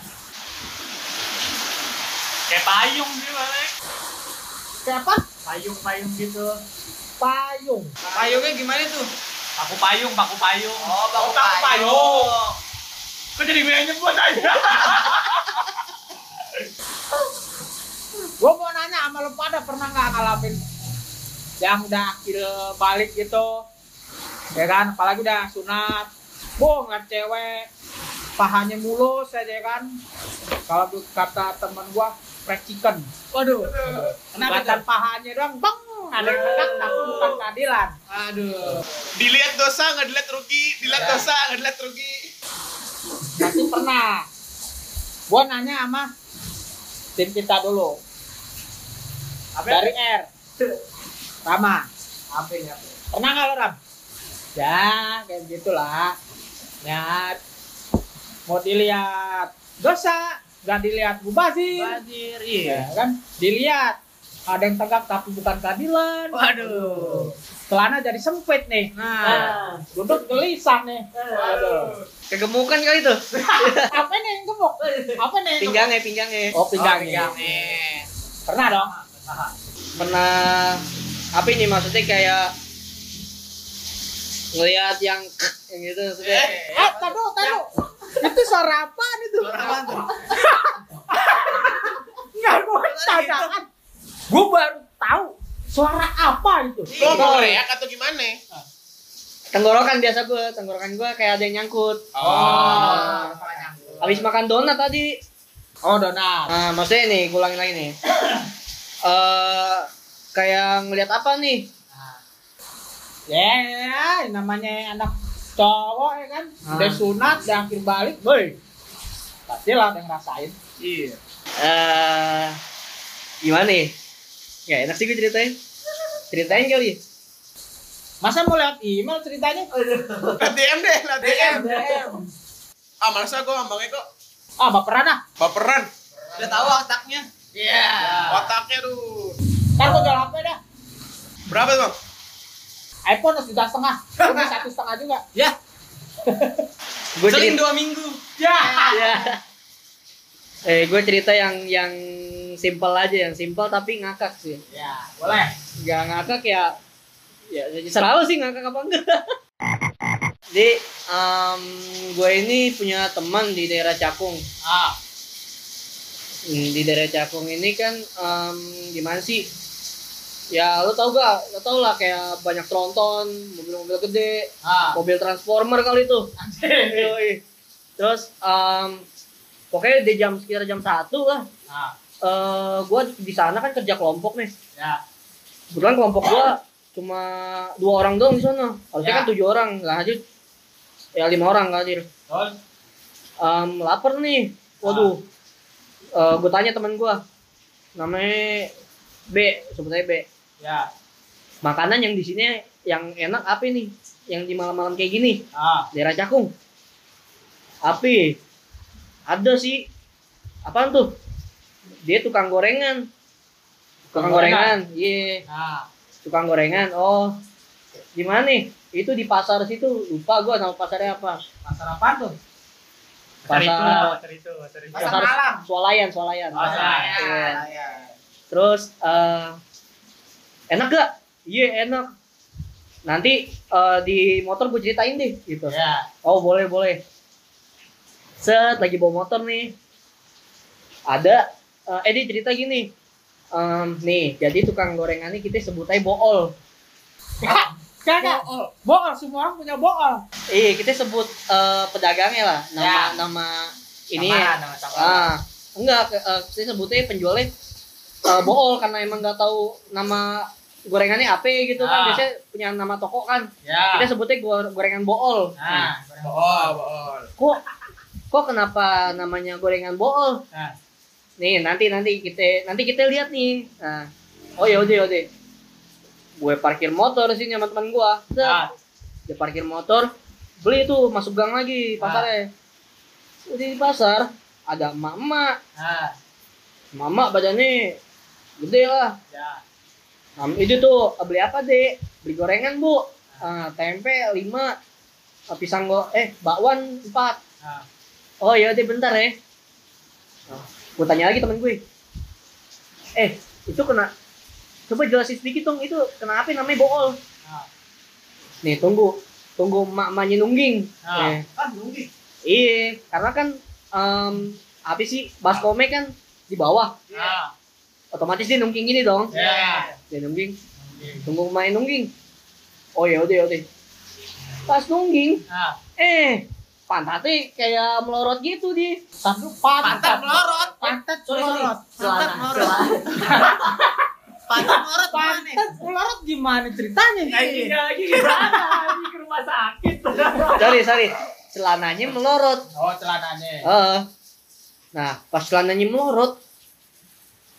D: Kayak payung sih balik.
B: Siapa?
D: Payung-payung gitu.
B: Payung.
E: Payungnya gimana tuh?
D: Paku payung, paku payung.
E: Oh, bang
D: paku payung.
A: Kok jadi gue yang nyebut aja?
B: Gue mau nanya sama lo pada pernah gak ngalamin yang udah akil balik gitu? Ya kan, apalagi udah sunat. Boh, ngeliat cewek. Pahanya mulus aja ya kan. Kalau tuh kata temen gua, fried chicken.
E: Waduh. Kenapa
B: Kelihatan pahanya doang, bang! Ada yang menang, tapi bukan keadilan.
E: Aduh.
A: Dilihat dosa, nggak dilihat rugi. Dilihat dosa, nggak dilihat rugi.
B: Pasti pernah. Gua nanya sama tim kita dulu. Dari R. Rama. Pernah nggak lo Ram? Ya, kayak gitulah. Ya, mau dilihat dosa, nggak dilihat mubazir.
E: Banjir.
B: Ya,
E: Iya.
B: kan? Dilihat ada yang tegak tapi bukan keadilan.
E: Waduh.
B: Celana jadi sempit nih.
E: Nah.
B: Duduk gelisah nih. Aduh.
F: Kegemukan kali tuh.
B: Apa nih yang gemuk? Apa nih yang gemuk?
F: Pinggangnya, pinggangnya.
B: Oh,
E: Ah,
B: pinggangnya.
E: Pinggangnya.
B: Pernah dong?
F: Pernah apa ini maksudnya kayak ngelihat yang yang gitu maksudnya.
B: Eh, taruh, taruh. Itu suara apaan itu?
E: ya. Suara apaan tuh? gitu.
B: Enggak, gue tantangan. Gue baru tahu suara apa itu.
A: Lu mau teriak atau gimana?
F: Tenggorokan biasa gue, tenggorokan gue kayak ada yang nyangkut.
A: Oh.
F: Ah. Habis makan donat tadi.
B: Oh, Donat.
F: Nah, maksudnya nih, gue ulangin lagi nih. Eh kayak ngelihat apa nih?
B: Ah. Ya, namanya anak cowok ya kan.
F: Ah.
B: Udah sunat, udah akhir balik, boy. Pastilah ada yang ngerasain.
F: Eh gimana nih? Gak enak sih gue ceritain. Ceritain kali.
B: Masa mau lewat email ceritanya?
A: Lah DM deh, lah DM. Ah, masa gue ambangnya kok
B: Ah, baperan ah.
A: baperan.
E: Udah tahu otaknya.
F: Iya.
A: Otaknya tuh.
B: Ntar gue jual HP dah.
A: Berapa tuh, Bang?
B: iPhone harus juta setengah. Gue beli satu setengah juga.
F: Gue
E: Seling
F: cerita.
E: dua minggu.
F: Ya. Eh gue cerita yang yang simpel aja, yang simpel tapi ngakak sih.
B: Ya, boleh.
F: Gak ngakak ya ya serah lu sih ngakak apa enggak. Jadi em, gue ini punya teman di daerah Cakung.
B: Ah,
F: Hmm, di daerah Cakung ini kan em, gimana sih? Ya lu tau gak? Lu tau lah kayak banyak tronton, mobil-mobil gede,
B: ah.
F: mobil transformer kali tuh. Yoi. Terus em, pokoknya di jam sekitar jam satu lah.
D: Nah,
B: Ah.
F: Eh, gua di sana kan kerja kelompok nih.
B: Ya.
F: Kebetulan kelompok gua cuma dua orang doang di sana. Harusnya
B: Ya.
F: kan tujuh orang, nggak hadir. Ya lima orang nggak hadir.
B: Terus?
F: Em, lapar nih. Waduh. Eh, gua tanya teman gua. Namanya B, sebutnya B.
B: Ya.
F: Makanan yang di sini yang enak apa nih? Yang di malam-malam kayak gini?
B: Ah.
F: daerah Cakung. Api. Ada sih. Apaan tuh? Dia tukang gorengan. Tukang gorengan. Iya,
B: Ah.
F: tukang gorengan. Oh. Gimana nih? Itu di pasar situ. Lupa gua nama pasarnya apa.
B: Pasar apa tuh?
D: Pasar itu,
F: Pasar-
D: pasar itu, pasar itu.
B: Pasar malam.
F: Swalayan, Swalayan.
D: Pasar.
F: Iya.
B: ya.
F: Terus eh, enak gak? Iya, enak. Nanti eh, di motor gue ceritain deh gitu.
B: Ya.
F: Oh boleh boleh. Set lagi bawa motor nih. Ada eh, eh dia cerita gini. Em, nih jadi tukang gorengan ini kita sebut aja bool.
B: Kagak. Bool. Semua orang punya bool.
F: Iya kita sebut eh, pedagangnya lah nama nama ini. ya.
B: Nama
E: eh,
F: Ah enggak ke- eh, saya sebutnya penjualnya eh, bool karena emang nggak tahu nama gorengannya apa gitu
B: Ah.
F: kan biasanya punya nama toko kan
B: Ya.
F: kita sebutnya gor- gorengan bool.
B: Nah.
A: Bool, bool.
F: kok kok kenapa namanya gorengan bool
B: Nah.
F: nih nanti nanti kita nanti kita lihat nih nah. oh yaudah yaudah gue parkir motor sini sama teman gue
B: Ah.
F: dia parkir motor beli tuh masuk gang lagi pasarnya udah di pasar ada mama
B: Ah.
F: mama badannya gede lah
B: Ya.
F: Nah, itu tuh beli apa deh? Beli gorengan bu, Ah, tempe lima, Ah, pisang go, eh bakwan empat.
B: Ah.
F: Oh iya deh bentar ya. Nah, gue tanya lagi temen gue. Eh itu kena, coba jelasin sedikit dong itu kenapa namanya bool?
B: Ah.
F: Nih tunggu, tunggu mak-maknya nungging.
B: Ah.
F: Eh, Iya, karena kan em apa sih baskomnya kan di bawah,
B: Ah.
F: otomatis dia nungging gini dong.
B: Ya.
F: Dia nungging. Tunggu main nungging. Oh ya udah udah. Pas nungging,
B: Ah.
F: eh pantatnya kayak melorot gitu di
B: Satu pantat.
E: Pantat melorot.
B: Pantat melorot.
E: Pantat melorot. Pantat melorot mana nih?
B: Pantat melorot gimana ceritanya?
D: Anjing
B: iya.
D: lagi gimana? Anjing ke rumah sakit.
F: Sorry sorry, celananya melorot.
B: Oh celananya.
F: Heeh. nah pas celananya melorot,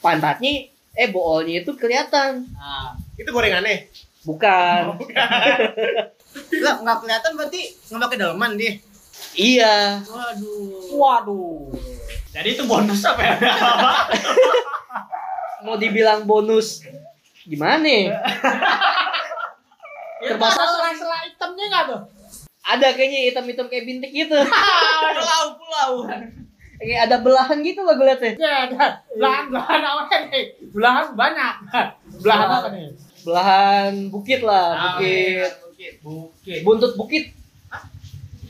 F: pantatnya eh boolnya itu kelihatan.
B: Ah.
A: Itu gorengannya.
B: Oh,
F: Bukan.
E: Lah nggak kelihatan berarti nggak pakai daleman dia.
F: Iya.
E: Waduh.
B: Waduh.
D: Jadi itu bonus apa ya?
F: Mau dibilang bonus gimana?
B: Ya,
F: Terbatas.
B: masa sela-sela hitamnya nggak tuh?
F: Ada kayaknya hitam-hitam kayak bintik gitu.
E: Pulau pulau.
F: kayak ada belahan gitu lah gue liatnya.
B: Ya, dah. belahan belahan apa nih? Belahan banyak. Belahan apa nih?
F: Belahan bukit lah, bukit.
A: bukit.
B: Bukit.
F: buntut bukit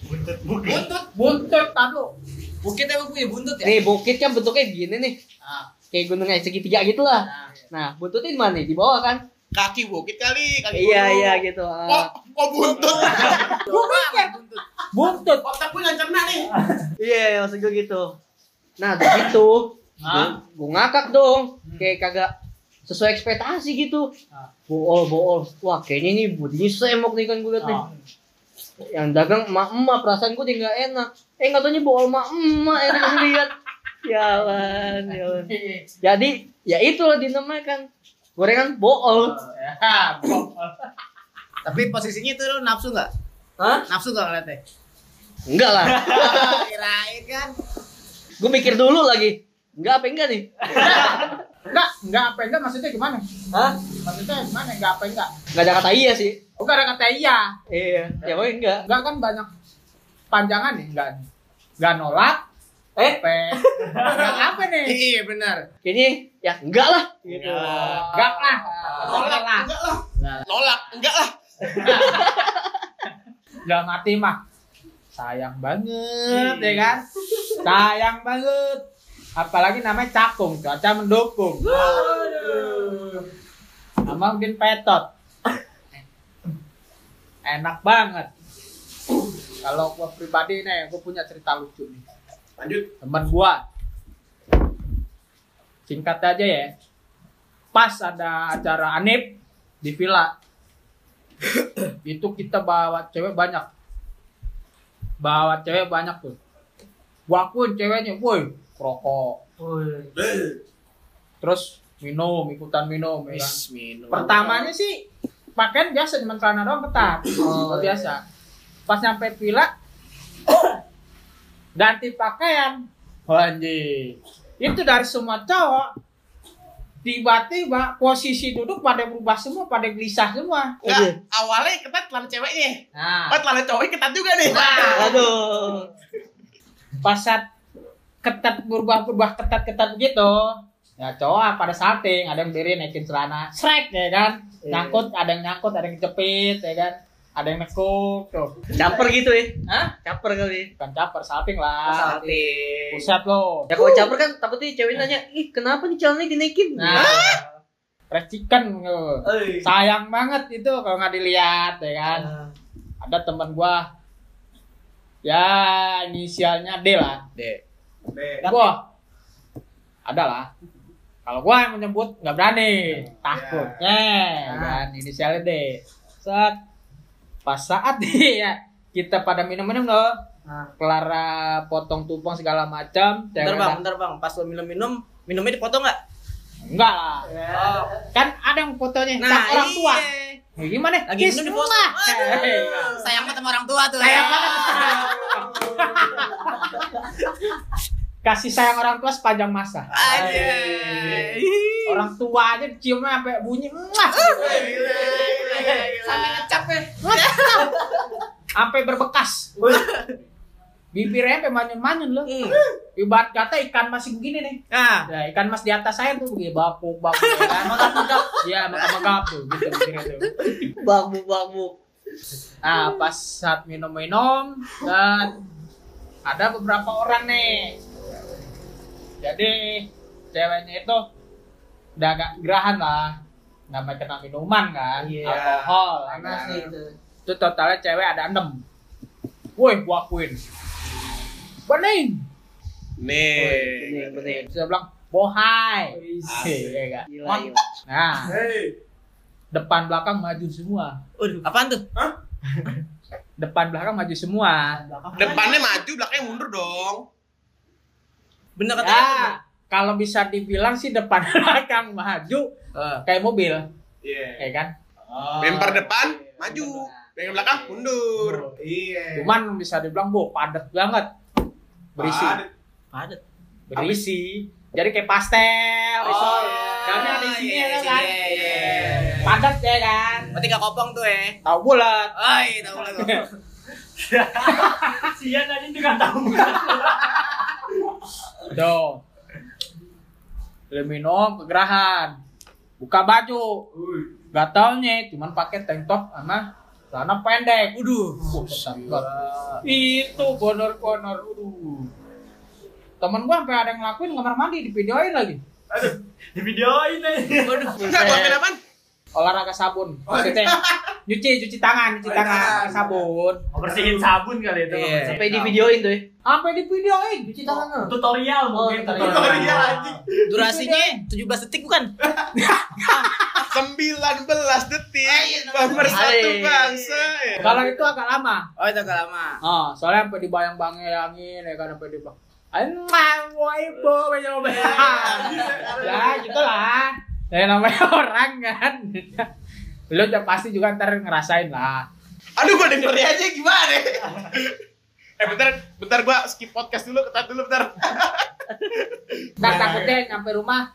A: Buntut bukit.
E: Buntut.
B: Buntut tado.
E: Bukit emang punya buntut ya?
F: nih bukit kan bentuknya gini nih
E: Ah.
F: kayak gunung kayak segitiga gitu lah
E: Nah,
F: nah buntutnya di mana di bawah kan
A: Kaki bukit kali, kaki
F: iya
A: gunung.
F: iya gitu
A: Kok
F: ah.
A: kok buntut?
B: Buntut.
A: Otak gue nggak cerna nih.
F: iya maksud gue gitu nah udah gitu
D: Ah.
F: gue ngakak dong kayak kagak sesuai ekspektasi gitu bool bool wah kayaknya ini bodinya semok nih kan gue liat nih
D: Ah.
F: yang dagang emak emak perasaan gue dia nggak enak eh nggak taunya bool eh, emak emak yang gue lihat Ya jalan jalan jadi ya itulah dinamakan gorengan bool
C: Tapi posisinya itu lu nafsu nggak?
F: Hah?
C: Nafsu nggak ngeliatnya?
F: enggak lah
C: Kirain kan.
F: gue mikir dulu lagi enggak apa enggak nih
B: Enggak, enggak apa enggak maksudnya gimana?
F: Hah?
B: Maksudnya gimana enggak apa enggak?
F: nggak ada kata iya sih
B: Oh, gara kata iya.
F: iya ya pokoknya enggak
B: Enggak kan banyak panjangan nih, enggak. Enggak nolak.
F: Eh?
B: Apa? Enggak apa nih?
C: Iya benar.
F: kayaknya ya enggak lah gitu
B: Enggak lah.
A: Nolak, enggak lah. Nolak, enggak lah.
B: Enggak mati mah. Sayang banget ya kan? Sayang banget. Apalagi namanya cakung, cuaca mendukung. Sama mungkin petot. Enak banget. Kalau gua pribadi nih, gua punya cerita lucu nih.
A: Lanjut.
B: teman gua singkat aja ya pas ada acara Anip di villa itu kita bawa cewek banyak bawa cewek banyak tuh gua akuin ceweknya woi rokok terus minum ikutan minum ya kan.
C: Minum.
B: pertamanya sih pakaian biasa cuma celana doang ketat
F: Oh, iya.
B: biasa pas nyampe villa ganti pakaian
F: Oh,
B: anjing itu dari semua cowok tiba-tiba posisi duduk pada berubah semua pada gelisah semua
F: Iya.
A: Enggak, awalnya ketat telan ceweknya.
B: nah
A: Oh, telan cowoknya ketat juga nih.
F: aduh
B: pas saat ketat berubah berubah ketat ketat begitu ya cowok pada salting ada yang berdiri naikin celana srek ya kan
F: Iya.
B: nyangkut ada yang nyangkut ada yang kejepit ya kan ada yang nekuk tuh
F: caper gitu ya
B: Hah?
F: caper kali ya.
B: bukan caper salting lah pusat lo
F: ya kalau caper kan takutnya cewek nanya ih kenapa nih calonnya dinaikin
B: Nah,
F: nah
B: percikan tuh. Sayang banget itu kalau nggak dilihat ya kan. Ada teman gua ya inisialnya D lah.
C: D.
B: Gua ada lah. Kalau gua yang menyebut nggak berani, takutnya ya kan inisialnya D. Set pas saat dia kita pada minum-minum loh. Kelara potong tumpeng segala macam.
E: bentar
B: cewek
E: bang,
B: dat-
E: bentar bang. Pas lo minum-minum, minumnya dipotong nggak?
B: Enggak lah.
E: Oh.
B: Kan ada yang fotonya
E: Nah,
B: nah, orang tua.
E: iya.
B: Ya gimana?
E: Lagi
B: Kiss
E: minum
B: semua.
E: dipotong.
B: Hei.
E: Aduh.
C: Sayang banget sama orang tua tuh.
B: Sayang banget. Kasih sayang orang tua sepanjang masa.
E: Aja.
B: Orang tua aja ciumnya sampai bunyi. "Mwah!"
E: Sampai ngecap ya.
B: Sampai berbekas. Bibirnya sampai manyun-manyun loh.
E: Hmm.
B: Ibarat kata ikan masih begini nih.
E: Nah,
B: Nah, ikan mas di atas air tuh begini bapuk bapuk ya kan. Mata megap. Iya, mata megap tuh gitu bibirnya tuh.
F: bambu bambu
B: Nah, pas saat minum-minum dan ada beberapa orang nih. Jadi ceweknya itu udah agak gerahan lah. Namanya kena minuman kan, alkohol. ya
E: Nah,
B: kan.
E: gitu.
B: Itu totalnya cewek ada 6. Woi, gua akuin. Bening.
A: Nih.
F: Iya, bener
B: Bisa bilang bohai.
A: Asik.
B: Iya enggak?
F: gila gila.
B: Nah,
A: Hei.
B: depan belakang maju semua.
E: Waduh, apaan tuh?
B: Depan belakang maju semua.
A: Depannya maju, belakangnya mundur dong.
E: Bener kata
B: Ya,
E: Abang.
B: kalau bisa dibilang sih depan belakang maju
E: Eh.
B: kayak mobil,
A: Iya.
B: ya kan?
A: Bemper depan maju, bemper belakang mundur.
E: Eh.
A: Iya.
B: Cuman bisa dibilang bu padat banget, berisi,
E: Padat.
B: berisi. Jadi kayak pastel, risol. Karena ada isinya ya kan?
E: Oh, Iya, iya.
B: Padat ya kan?
E: Berarti nggak kopong tuh ya?
B: Tahu bulat.
E: Oi, tahu lah gua.
D: Kasihan aja juga tahu.
B: Tuh. Udah minum kegerahan. Buka baju. Gak taunya cuman pakai tank top sama Celana pendek.
C: Waduh.
B: Buset, Bang. Itu gonor-gonor. Aduh. Temen gua sampai ada yang ngelakuin kamar mandi divideoin lagi.
D: Di videoin
B: eh.
D: aja.
A: Enggak, ngelakuin apaan?
B: Olahraga sabun. Maksudnya nyuci cuci tangan, cuci tangan pakai sabun.
D: Bersihin sabun kali itu.
C: Iya.
D: bersihin
F: Sampai di
D: sabun.
F: videoin tuh ya.
B: Sampai divideoin cuci tangan.
D: Tutorial mungkin.
B: Oh,
D: tutorial.
A: tutorial, anjing.
E: Durasinya 17 detik bukan?
A: 19 detik pemersatu bangsa. ya.
B: Kalau itu agak lama.
E: Oh, itu agak lama.
B: Ah, soalnya sampai dibayang-bayangin ya kan sampai dibang. Emang ibu mencoba. Ya, gitulah. Ya namanya orang kan. Lu udah pasti juga ntar ngerasain lah.
A: Aduh, gua dengerin aja gimana. eh bentar, bentar gua skip podcast dulu, ketat dulu bentar.
B: Ntar takutnya nyampe rumah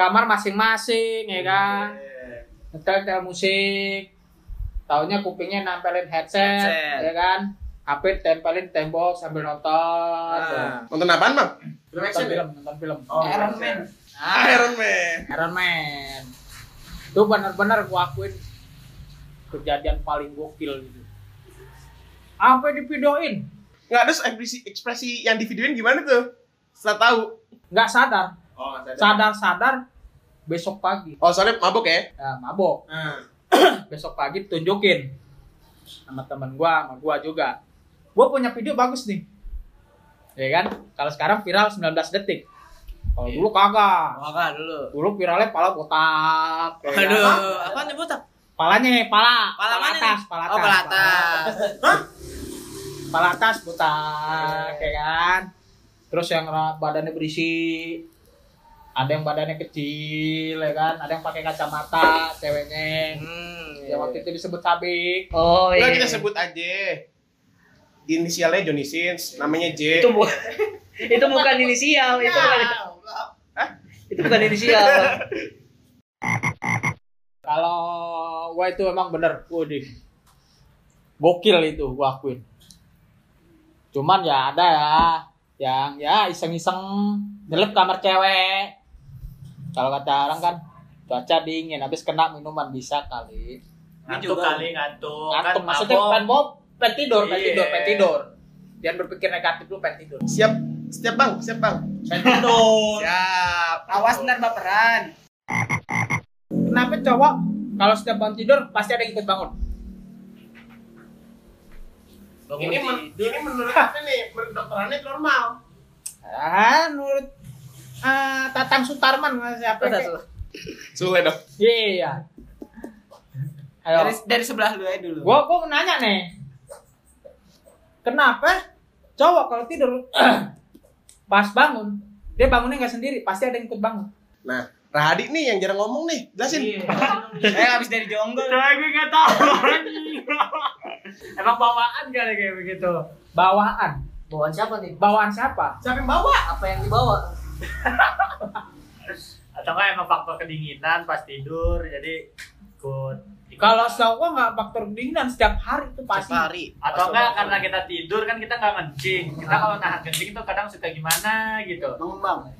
B: kamar masing-masing ya kan. Nyetel nyetel musik. Taunya kupingnya nempelin headset, ya
E: Headset.
B: kan. HP tempelin tembok sambil nonton.
A: Nonton apaan, Bang?
B: Nonton film, nonton film.
D: Oh,
E: Iron Man.
B: Ah.
A: Iron Man.
B: Iron Man. Itu benar-benar gua akuin kejadian paling gokil gitu. Sampai divideoin,
A: Enggak ada ekspresi ekspresi yang di videoin gimana tuh? Setelah tahu.
B: nggak sadar,
A: Oh,
B: sadar-sadar besok pagi
A: Oh, soalnya mabok ya?
B: ya, mabok. Besok pagi tunjukin sama temen gua, sama gua juga. Gua punya video bagus nih. Ya kan? Kalau sekarang viral 19 detik. Kalau dulu kagak.
C: Waka dulu.
B: Dulu viralnya pala botak. ya kan?
C: Aduh.
E: Apaan nih botak?
B: Palanya, pala.
E: Pala mana
B: atas, pala atas.
E: Oh, kepala atas.
B: kepala atas botak ya kan terus yang ra- badannya berisi ada yang badannya kecil ya kan ada yang pakai kacamata ceweknya
E: Hmm.
B: ya waktu itu disebut tabik
F: Oh
A: Enggak
F: iya.
A: kita sebut aja. Inisialnya Johnny Sins, namanya J.
F: Itu bukan itu bukan inisial, itu bukan.
A: Hah?
F: Itu bukan inisial. Bang.
B: kalau wah itu emang bener waduh gokil itu gua akuin cuman ya ada ya yang ya iseng-iseng nyelip kamar cewek kalau kata orang kan cuaca dingin habis kena minuman bisa kali
D: Ngantuk kali ngantuk.
B: ngantuk
D: Kan
B: maksudnya
D: mabok.
B: bukan bob pengen tidur pengen
D: Iya.
B: tidur pengen tidur jangan berpikir negatif lu pengen tidur
A: Siap, siap Bang, siap Bang.
B: pengen tidur
A: Siap.
E: Awas ntar baperan.
B: kenapa cowok kalau setiap bangun tidur pasti ada yang ikut bangun
A: Ini, men- ini menurut apa nih? Menurut dokterannya normal.
B: ah menurut ah, Tatang Sutarman siapa
E: Tatang
B: kek?
A: Sulit dong.
B: iya ayo
E: Dari, dari sebelah lu aja dulu.
B: gua gua mau nanya nih kenapa cowok kalau tidur pas bangun dia bangunnya nggak sendiri pasti ada yang ikut bangun
A: Nah, Rahadi nih yang jarang ngomong nih, jelasin.
B: Iya.
E: Eh, habis dari jonggol.
D: Coy, gue nggak tahu. Emang bawaan kali kayak begitu.
B: bawaan
G: Bawaan siapa nih?
B: bawaan siapa
A: Siapa yang bawa?
G: Apa yang dibawa?
D: Atau nggak emang faktor kedinginan pas tidur jadi ikut.
B: kalau cowok nggak faktor kedinginan setiap hari itu pasti
E: Pasti.
D: atau enggak karena kita tidur kan kita nggak ngencing kita kalau nahan kencing itu kadang suka gimana gitu
G: Mengembang.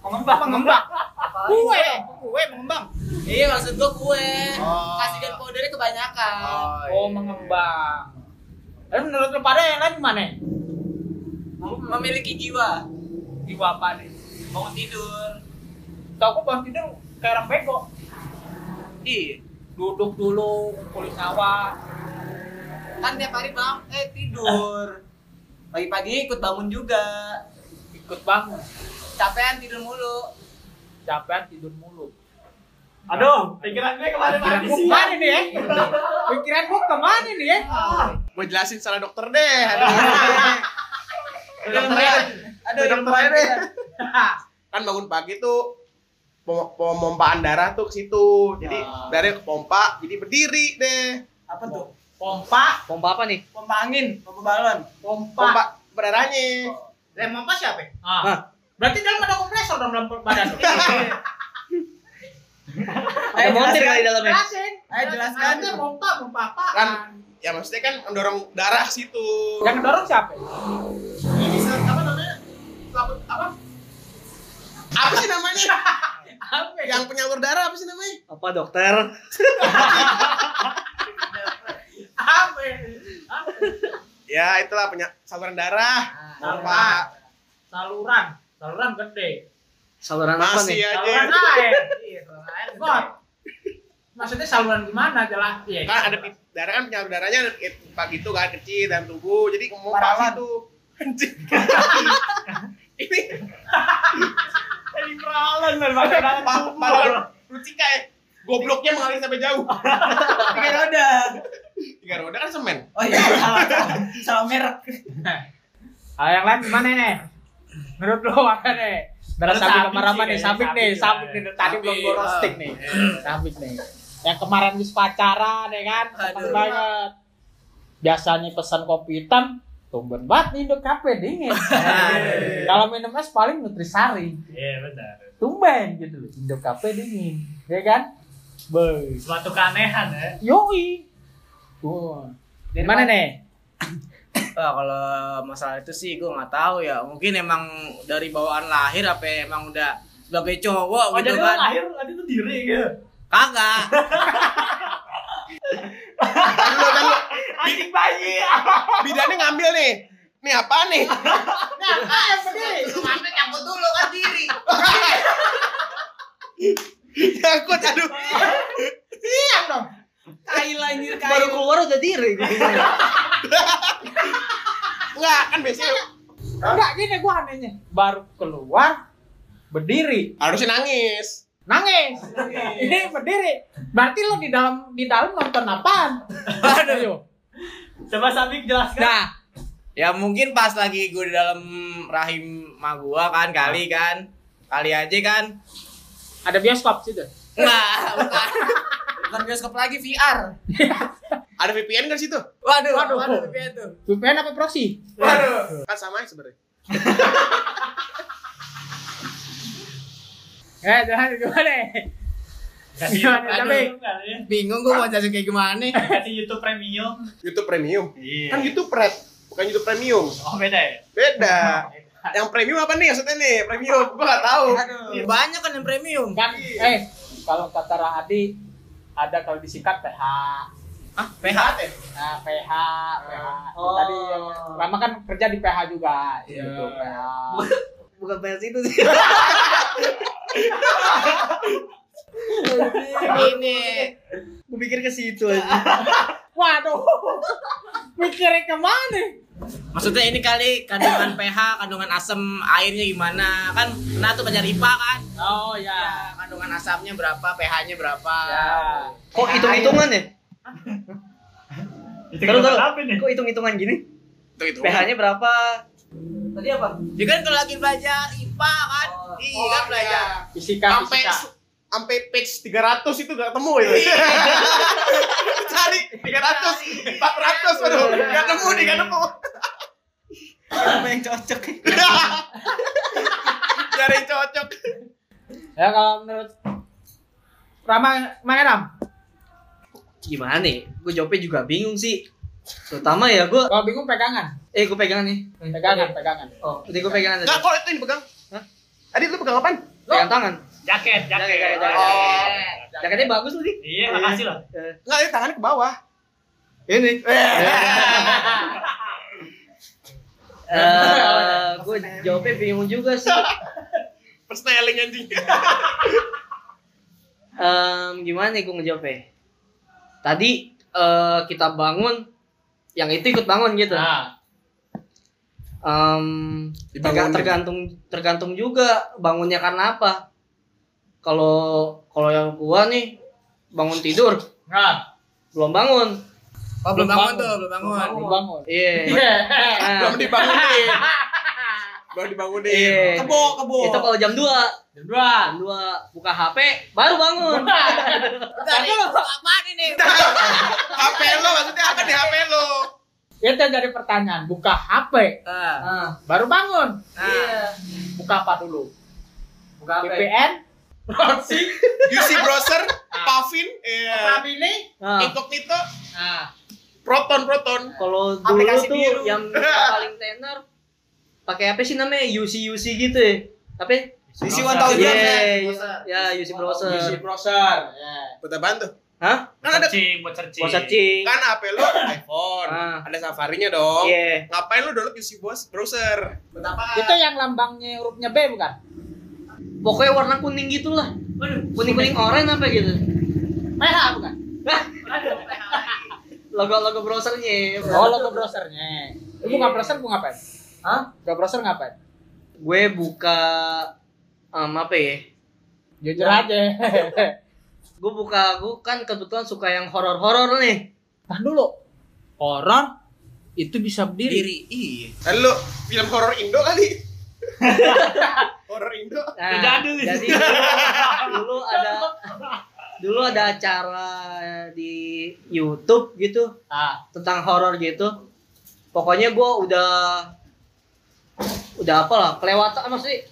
D: mengembang mengembang
B: kue kue mengembang
E: Iya, maksud gua kue.
A: Oh.
E: Kasih dan powdernya kebanyakan.
B: oh mengembang lalu menurut lu pada yang lain gimana
E: Memiliki jiwa.
B: di bapak nih
E: Bangun tidur.
B: tau aku bangun tidur kayak orang bego
E: Ih,
B: duduk dulu kulit sawah
E: kan tiap hari bang eh tidur. Pagi-pagi ikut bangun juga.
B: ikut bangun
E: Capean tidur mulu.
B: capek tidur mulu
D: aduh pikiran gue kemarin
B: pikiran
D: mati
B: gua
D: sih
B: kemana nih eh. ya pikiran gua kemana nih ya
A: Gua jelasin salah dokter deh. Aduh. dokter
E: Ilmuwan.
A: Aduh, dokter deh. Kan bangun pagi tuh pem- pemompaan darah tuh ke situ. Jadi
B: Ah.
A: darahnya kepompa, jadi berdiri deh.
E: Apa tuh?
B: pompa
F: Pompa apa nih?
E: Pompa angin, pompa balon.
B: pompa
A: Pompa berdarahnya.
E: Eh,
B: lem pompa siapa ya? ah. berarti dalam ada kompresor dalam dalam badan
F: Ada montir kali dalamnya.
B: jelasin
E: Ayo jelaskan.
B: Ada pompa pompa apa
A: Kan ya maksudnya kan mendorong darah ke situ.
B: yang dorong siapa ya?
A: Ini se- apa namanya? Selaput- apa? Apa sih namanya?
B: apa ya?
A: Yang penyalur darah apa sih namanya?
F: Apa dokter?
A: ya itulah punya saluran darah
B: Ah,
G: Saluran. Saluran. Saluran gede.
F: Saluran apa
A: masih
F: nih?
A: aja
G: Saluran air. Iya, saluran air. God. Maksudnya saluran gimana jalan? Iya.
D: Nah,
A: kan ada pit- darah kan penyalur darahnya pak gitu kan kecil dan tubuh jadi mau
G: Parawan.
A: pas itu anjing ini
D: Eh,
G: Jadi peralan dan pakai dalam
A: pa- parawan
D: Nah,
A: rucika ya gobloknya mengalir sampai jauh
E: Tiga roda.
A: tiga roda kan semen
E: Oh iya, salah. Salah merek.
B: Ah, yang lain gimana nih? Menurut lo apa nih? Darah
D: Menurut
B: sapi
D: sapi
B: kemarin apa
D: sih
B: nih?
D: kayaknya,
B: Sapi nih, sapi
D: sapi lah ya.
B: nih. Tadi
D: Sapi,
B: belum gue
D: ah.
B: roasting nih. Sapi nih. Yang kemarin habis pacaran ya kan? Seneng
E: Aduh.
B: banget. Biasanya pesan kopi hitam, tumben banget nih dok kafe dingin. Kalau minum es paling nutrisari,
D: Iya benar.
B: tumben gitu loh. Indo kafe dingin, ya kan? Boy,
D: Suatu keanehan ya.
B: yoi. Wah, gimana nih?
E: Wah, kalau masalah itu sih gue nggak tahu ya. Mungkin emang dari bawaan lahir apa emang udah sebagai
G: Oh,
E: cowok gitu
G: jadi lu
E: kan.
G: lahir tadi tuh diri gitu.
E: Kagak.
G: Anjing bayi.
A: bidannya ngambil nih ini apa nih
E: Sampai nyambut dulu kan diri.
A: nyangkut aduh
E: Kail anjir
F: Baru
E: kail.
F: keluar udah diri.
A: enggak kan biasanya
B: Enggak gini gua anehnya. Baru keluar berdiri
A: harusnya nangis
B: nangis. Ini berdiri. Berarti lo di dalam di dalam nonton apaan? Aduh.
D: Coba Sabik jelaskan. Iya.
E: Nah, ya mungkin pas lagi gue di dalam rahim ma gua kan kali kan. Kali aja kan.
B: Ada bioskop situ.
E: Nggak, bukan. Bukan bioskop lagi VR.
A: ada VPN kan situ
E: Waduh,
B: Waduh.
E: waduh, VPN tuh.
B: VPN apa proxy?
E: Waduh.
A: kan sama aja sebenarnya
B: Eh, jangan gimana?
D: Kasih
B: Gimana,
D: YouTube
B: Sabik?
D: premium kali ya.
C: Bingung gue mau jelasin kayak gimana nih.
D: Kasih YouTube premium.
A: YouTube Premium
D: Iya.
A: kan YouTube Red bukan YouTube Premium
D: Oh beda ya.
A: beda yang premium apa nih maksudnya nih premium gua gak tahu
E: Banyak kan yang premium.
B: Kan eh kalau kata Rahadi ada kalau disingkat PH.
E: Ah, PH teh.
B: Nah, PH, PH.
E: Oh.
B: Tadi yang Rama kan kerja di PH juga. Iya. Gitu, PH.
F: Bukan versi itu sih.
E: Ini.
F: Gue pikir ke situ aja.
B: Waduh. Mikirnya kemana?
E: Maksudnya ini kali kandungan pH, kandungan asam airnya gimana? Kan pernah tuh belajar IPA kan?
B: Oh
E: Ya, kandungan asamnya berapa, pH-nya berapa?
B: Ya.
F: Kok hitung-hitungan ya?
D: Itu
F: Taruh, taruh.
D: apa nih?
F: Kok hitung-hitungan gini?
A: itu itu
F: PH-nya berapa?
E: Tadi apa? Ya kan kalau lagi belajar IPA kan? iya kan belajar.
B: Fisika,
A: sampai
B: fisika.
A: sampai page 300 itu gak ketemu itu cari 300 400 aduh gak nemu nih gak nemu
E: Apa yang cocok?
A: cari yang cocok
B: Ya kalau menurut Rama Maeram,
F: Gimana nih? Gue jawabnya juga bingung sih. Terutama ya gue,
B: kalau bingung pegangan,
F: eh gue pegangan nih.
B: pegangan, pegangan.
F: Oh, jadi gue pegangan
A: gak
F: aja.
A: kalau itu yang dipegang
F: Hah?
A: tadi lu pegang apaan
F: Pegang tangan.
D: Jaket, jaket.
F: Jaket, jaket,
D: Oh.
F: Jaketnya bagus loh nih.
D: Iya, makasih loh.
A: gak tadi tangannya ke bawah
F: Ini. Eh, gue jawabnya bingung juga sih.
A: persneling anjing
F: Em, gimana nih gue ngejawabnya? Tadi eh, kita bangun, yang itu ikut bangun gitu.
D: Nah,
F: Em,
A: Dibangunin.
F: terga- tergantung tergantung juga bangunnya karena apa. Kalau kalau yang gua nih bangun tidur
D: nah.
F: belum bangun.
E: Oh, belum bangun
B: bangun.
E: tuh, belum bangun.
B: Bangun, bangun.
F: Iya. Nah,
A: belum dibangunin belum dibangunin
F: Iya.
E: Kebo, kebo.
F: itu kalau jam 2
D: Jam dua.
F: jam 2 buka HP baru bangun.
E: Tadi apaan ini?
A: HP lo maksudnya apa nih HP lo
B: Itu yang jadi pertanyaan, buka HP,
E: Ah,
F: Nah,
B: baru bangun, Iya.
E: Nah,
B: buka apa dulu?
E: buka apa?
B: VPN,
A: UC browser Pavin iya
B: tapi ini,
F: nah,
A: incognito
E: Nah.
A: proton proton
F: kalau dulu
E: Aplikasi
F: tuh
E: biru.
F: yang paling tenar pakai apa sih namanya UC UC gitu ya. Apa?
E: Isi 1000
D: Browser.
F: Iya,
E: ya.
F: ya UC browser.
B: browser. Ya.
A: Buat apaan tuh?
F: Hah?
A: Kan ada
D: searching, buat searching.
F: Mau searching.
A: kan HP lu iPhone.
F: Iya. Ah.
A: Ada Safari-nya dong.
F: Iya.
A: Ngapain lu download UC Bos browser?
B: Itu yang lambangnya hurufnya B bukan?
F: Pokoknya warna kuning gitulah. Kuning-kuning oranye apa gitu.
B: PH bukan?
F: Logo-logo browsernya.
B: Oh, logo browsernya. Lu buka browser gua ngapain?
F: Hah?
B: Buka browser ngapain?
F: Gue buka um, apa ya?
B: Jujur aja.
F: Gue buka gue kan kebetulan suka yang horor-horor nih.
B: Tahan dulu. Horor itu bisa berdiri.
E: Diri. Iya.
A: Kan lu film horor Indo kali. horor Indo.
F: Nah,
D: Jadul.
F: jadi dulu, dulu ada dulu ada acara di YouTube gitu
B: Ah,
F: tentang horor gitu. Pokoknya gue udah udah apalah kelewatan maksudnya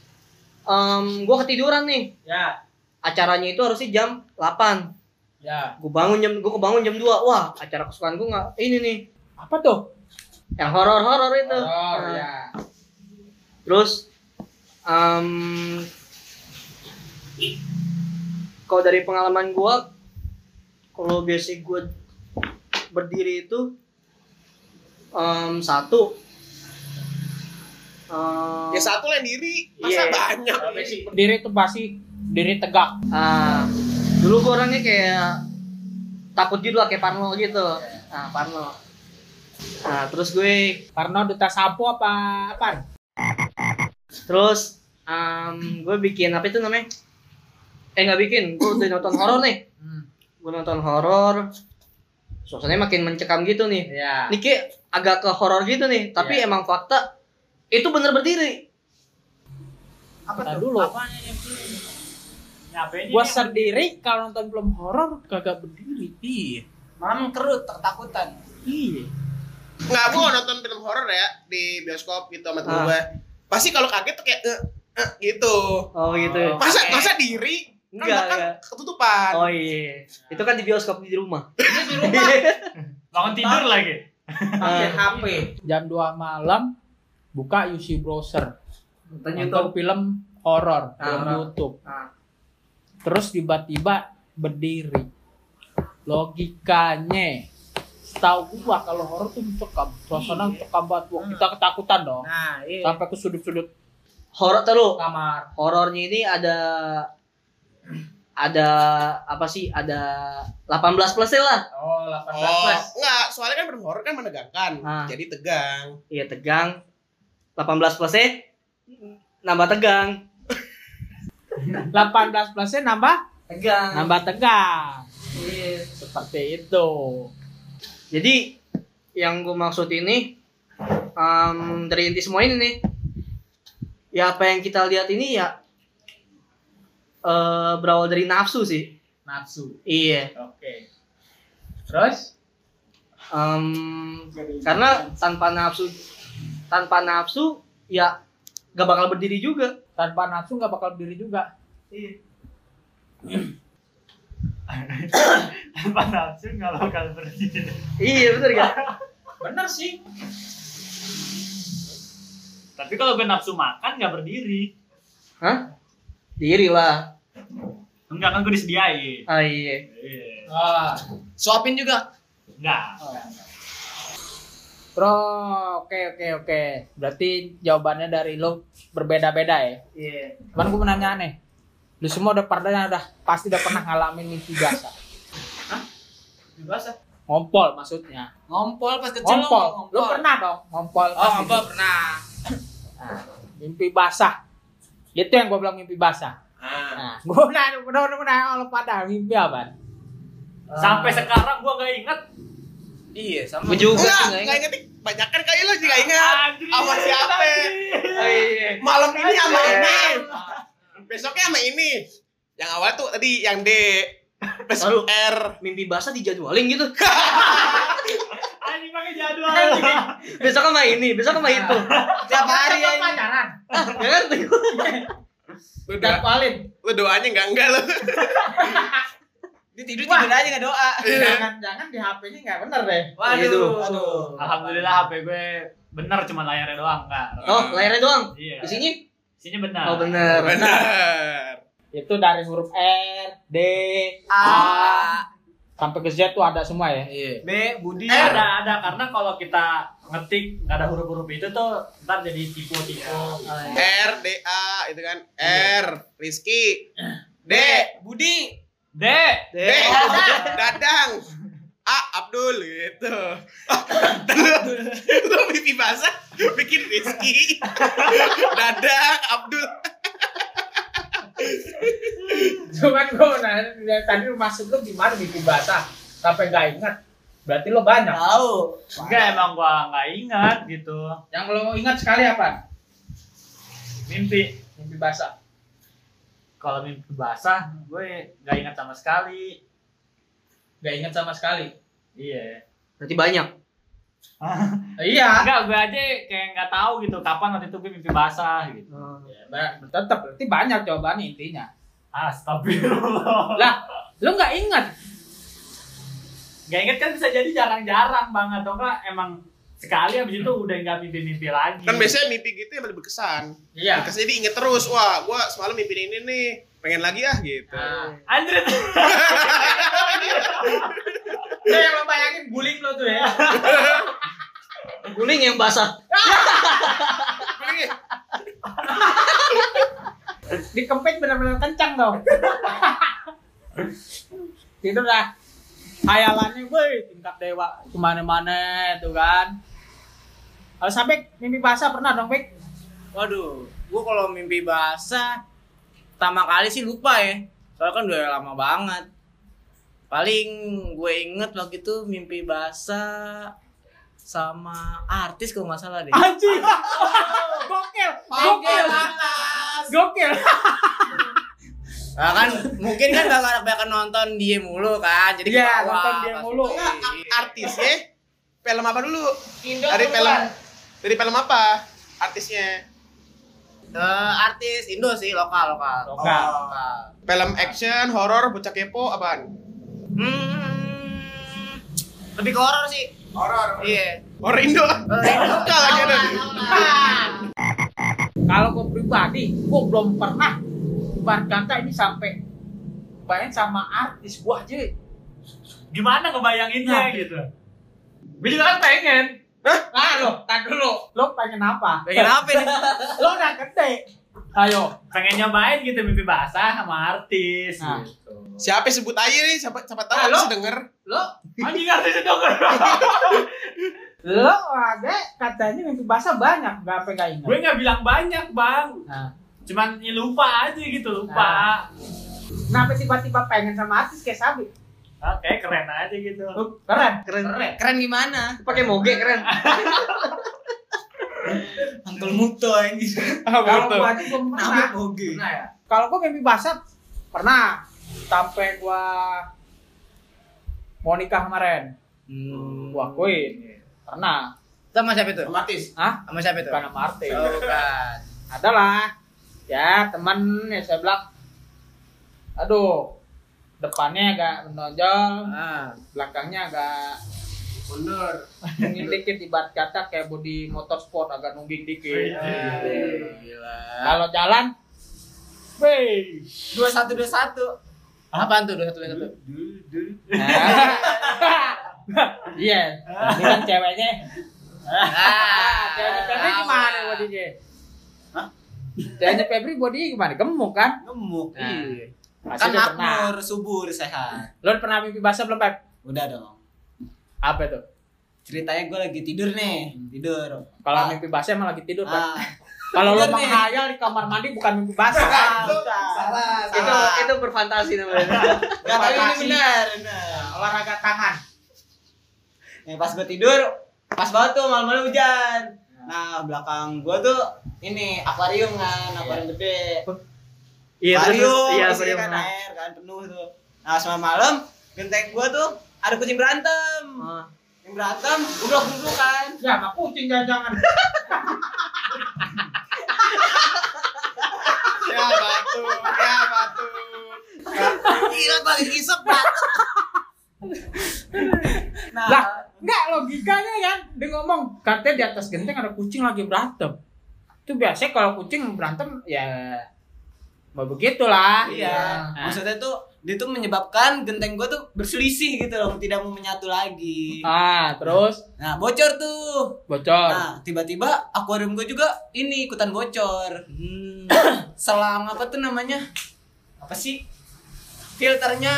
F: em gue ketiduran nih
B: ya,
F: acaranya itu harusnya jam 8
B: ya.
F: gue bangun jam gue kebangun jam 2 wah acara kesukaan gue nggak ini nih
B: Apa tuh?
F: yang horor horor itu
B: Horor,
F: Nah,
B: ya.
F: terus em kalau dari pengalaman gue kalau biasa gue berdiri itu em satu Em,
A: Ya satu lain diri. Masa
F: Iya.
A: banyak.
B: Berdiri itu pasti berdiri tegak.
F: Ah, dulu gue orangnya kayak takut gitu lah kayak Parno gitu. Nah, Parno. Nah, terus gue
B: Karena duta sapu apa apa?
F: terus em, gue bikin apa itu namanya? Eh nggak bikin, gue udah nonton horor nih.
B: Hmm.
F: Gue nonton horor. Suasananya makin mencekam gitu nih.
B: Ya.
F: Ini kayak agak ke horor gitu nih, tapi emang fakta itu bener berdiri.
B: Tahan dulu.
D: Nyapain
B: Gua sendiri kalau nonton film horor kagak berdiri. Iya.
C: Malam kerut ketakutan.
B: Iya.
A: Enggak, gua kalau nonton film horor ya di bioskop gitu sama temen
F: Ah.
A: gue. Pasti kalau kaget tuh kayak eh, eh, gitu.
F: Oh gitu.
A: Masa masa diri kan
F: Enggak,
A: kan
F: enggak.
A: ketutupan.
F: Oh iya. Itu kan di bioskop di rumah. Iya.
D: Bangun tidur lagi.
G: pakai
F: Ah.
G: HP
B: Jam 2 malam buka UC browser.
F: Nonton
B: Nonton film horor, film
F: Ah.
B: YouTube.
F: Ah.
B: Terus tiba-tiba berdiri. Logikanya setahu gua kalau horor tuh mencekam, suasana mencekam banget. Wah, kita ketakutan dong.
E: Nah, iya.
B: Sampai ke sudut-sudut.
F: Horor terus.
G: kamar
F: horornya ini ada ada apa sih ada 18 plus lah
G: oh 18
A: Oh,
G: plus
A: enggak, soalnya kan film horor kan menegangkan.
F: Ah.
A: Jadi tegang.
F: iya tegang 18 plus nambah tegang
B: 18 plusnya nambah
F: tegang Iya.
B: nambah tegang. Seperti itu.
F: jadi yang gue maksud ini em, dari inti semua ini nih ya apa yang kita lihat ini ya eh berawal dari nafsu sih
G: nafsu
F: iya
G: oke terus
F: Em, karena tanpa nafsu tanpa nafsu ya gak bakal berdiri juga
B: Tanpa nafsu nggak bakal berdiri juga.
D: Tanpa nafsu nggak bakal berdiri.
F: Iya bener kan?
G: bener sih
D: Tapi kalau gue nafsu makan nggak berdiri.
F: Hah? Diri lah.
D: Enggak kan gue disediain.
F: Ah iya.
D: Iya.
G: oh,
E: Suapin juga.
D: Enggak.
B: Bro, oke oke oke. Berarti jawabannya dari lo berbeda-beda ya.
F: Iya.
B: Cuman gue menanya aneh. Lu semua udah pernah udah pasti udah pernah ngalamin mimpi basah.
G: dibahas
B: Ngompol maksudnya.
C: Ngompol pas kecil lu
B: Ngompol. Lu pernah dong ngompol.
E: Oh,
B: pasti.
E: ngompol pernah.
B: Nah, mimpi basah. Itu yang gue bilang mimpi basah. Nah, gue udah udah udah udah kalau oh, pada mimpi apa?
D: Sampai sekarang gue nggak inget.
E: Iya, sama.
F: Gua juga
A: Enggak,
F: sih nggak
A: enggak
F: ingat.
A: inget. Banyak kan kali lo juga ingat.
D: Anjir,
A: Sama siapa?
F: Ah, iya.
A: Malam ini sama
F: Iya.
A: ini. Besoknya sama ini. Yang awal tuh tadi yang D. Besok
F: Lalu.
A: R.
F: Mimpi basah dijadwalin gitu.
D: Anjing pakai jadwal.
F: Besok sama ini, besok sama itu. Tiap hari
G: Lu
F: ya.
G: pacaran
F: Gak ngerti gua.
A: Lu,
G: dan
A: doa-
G: palin
A: lu doanya enggak enggak lu.
E: Dia tidur tidur aja enggak doa.
A: Iya.
G: jangan-jangan di HP-nya nggak bener deh
F: Gitu.
E: Aduh.
D: Alhamdulillah HP gue bener cuma layarnya doang kan.
F: Oh, layarnya doang.
D: Iya.
F: Isinya?
D: Isinya
E: Nah.
D: benar.
F: Oh bener.
A: Benar.
E: Ah.
B: Itu dari huruf R, D,
E: A.
B: sampai ke Z tuh ada semua ya.
E: Iya.
D: B Budi Eh, ada ada karena kalau kita ngetik nggak ada huruf-huruf itu tuh ntar jadi tipu-tipu
A: R D A itu kan
F: Iya.
A: R Rizky
F: Eh.
A: D Budi
D: D
A: D Dadang A Abdul gitu lu pipi basah bikin Rizky Dadang Abdul
B: Cuman gue nanya dari tadi lu masuk lu gimana bikin basah sampai nggak ingat. Berarti lo banyak.
E: Tahu.
D: enggak emang gua nggak ingat gitu
B: Yang lo ingat sekali apa?
D: mimpi
B: Mimpi basah.
D: kalau mimpi basah gue nggak ingat sama sekali
B: Gak ingat sama sekali.
D: iya
F: Berarti banyak.
B: Iya.
D: enggak gue aja kayak nggak tahu gitu kapan waktu itu gue mimpi basah gitu
B: Iya, Tetap berarti banyak jawaban intinya.
D: Astagfirullah.
B: Lah, lu nggak ingat?
D: Gak inget kan bisa jadi jarang-jarang banget atau enggak emang sekali habis itu udah nggak mimpi-mimpi lagi.
A: kan biasanya mimpi gitu yang lebih berkesan
B: Iya.
A: berkesan jadi inget terus wah gua semalam mimpi ini nih pengen lagi ah gitu
D: Andre
B: Itu yang Nah, eh, lo bayangin guling lo tuh ya.
F: Guling yang basah.
A: Paling
B: Dikempit bener-bener kencang dong. Itu dah. Hayalannya gue tingkat dewa kemana-mana tuh kan. Kalau sampai mimpi basah pernah dong, Bek?
E: Waduh, gua kalau mimpi basah pertama kali sih lupa ya. Soalnya kan udah lama banget. Paling gue inget waktu itu mimpi basah sama artis kalau nggak salah deh.
B: Anjing. Gokil. Gokil. Gokil.
E: Nah, kan mungkin kan gak banyak nonton dia mulu kan. Jadi
B: Iya,
E: ketawa
B: nonton dia
E: pas
B: mulu.
E: mimpi.
A: artisnya ya? film apa dulu
G: Indo
A: dari
G: keluar.
A: film dari film apa artisnya
E: Eh, artis Indo sih lokal lokal.
D: Lokal.
E: lokal.
A: film action horor bocah kepo apaan
E: Hmm, lebih ke horor sih. Horor. Iya. eh,
A: horor Indo lokal lagi ada
B: Nah, Kalau gue pribadi, gue belum pernah Bar kata ini sampai bayangin sama artis gue aja
D: gimana ngebayanginnya
B: Nah.
D: gitu. Gue juga kan pengen. Ah,
B: Nah lo, tar dulu Lo pengen apa?
E: Pengen apa nih?
B: Lo udah gede Ayo
D: Pengen nyobain gitu mimpi basah sama artis.
B: Nah.
D: Gitu.
A: siapa sebut aja nih siapa siapa tahu
B: Halo?
A: bisa denger
D: Anjing artis itu kan.
B: Lo ada katanya mimpi basah banyak Gak apa gak
D: Gue
B: ingat
D: nggak bilang banyak bang.
B: Nah.
D: Cuman ya, lupa aja gitu lupa.
B: Kenapa tiba-tiba pengen sama artis kayak Sabi?
D: Oke keren aja gitu.
B: Lo Keren
E: Keren. Keren gimana?
F: Pakai moge keren.
B: Ah,
E: Antul muto anjing.
B: Kalau gue aja belum pernah
E: boge.
B: Pernah ya? Kalau gue mimpi basah Pernah Sampai gue Mau nikah kemarin
E: Hmm.
B: Gue akuin Pernah
E: Sama siapa itu?
B: Hah?
E: Sama siapa itu?
B: Bukan sama artis
E: Oh, bukan.
B: adalah ya temen ya saya bilang aduh depannya agak menonjol
E: Ah.
B: belakangnya agak mundur nungging dikit ibarat kata kayak body motorsport agak nungging
D: Iya,
B: dikit
E: Gila.
B: kalau jalan wey
E: Dua satu dua satu. Apaan tuh dua satu dua satu?
D: Ah.
B: Nah. iya dengan ceweknya
E: Ah,
B: ceweknya Febri gimana bodinya ceweknya Febri bodinya gimana gemuk kan
E: Gemuk.
B: Iya.
E: Kan
B: Pasti udah pernah
E: makmur, subur, sehat.
B: lo pernah mimpi basah belum Pep?
E: Udah dong.
B: apa tuh
E: Ceritanya gue lagi tidur nih, tidur.
B: Kalau
E: Ah.
B: mimpi basah emang lagi tidur, Pak.
E: Ah,
B: Kalau lo
E: Tidur nih. Ah.
B: menghayal di kamar mandi bukan mimpi basah. Pak.
E: salah,
F: Itu
E: salah.
F: itu berfantasi namanya.
E: Gak tau ini
B: Fantasi.
E: benar, benar.
B: Olahraga tangan.
E: Nah, pas gue tidur, pas banget tuh malam-malam hujan. Nah, belakang gue tuh ini akuarium kan, akuarium gede.
D: Iya
E: akuarium,
D: iya
E: isinya kan air kan penuh tuh. Nah, semalam malam genteng gue tuh ada kucing berantem.
F: Ah.
E: Kucing berantem, gue blok dulu kan.
B: Ya, sama kucing jangan-jangan.
A: ya batu ya batu
E: Gila gue lagi isep berantem. nah,
B: lah, Eh, enggak logikanya kan. Dia ngomong, katanya di atas genteng ada kucing lagi berantem. Itu biasanya kalau kucing berantem ya mau begitulah.
E: iya.
B: Nah,
E: Maksudnya tuh dia tuh menyebabkan genteng gue tuh berselisih gitu loh tidak mau menyatu lagi
B: Ah, terus
E: nah bocor tuh
B: bocor.
E: nah tiba-tiba akuarium gue juga ini ikutan bocor Hmm. selang apa tuh namanya apa sih filternya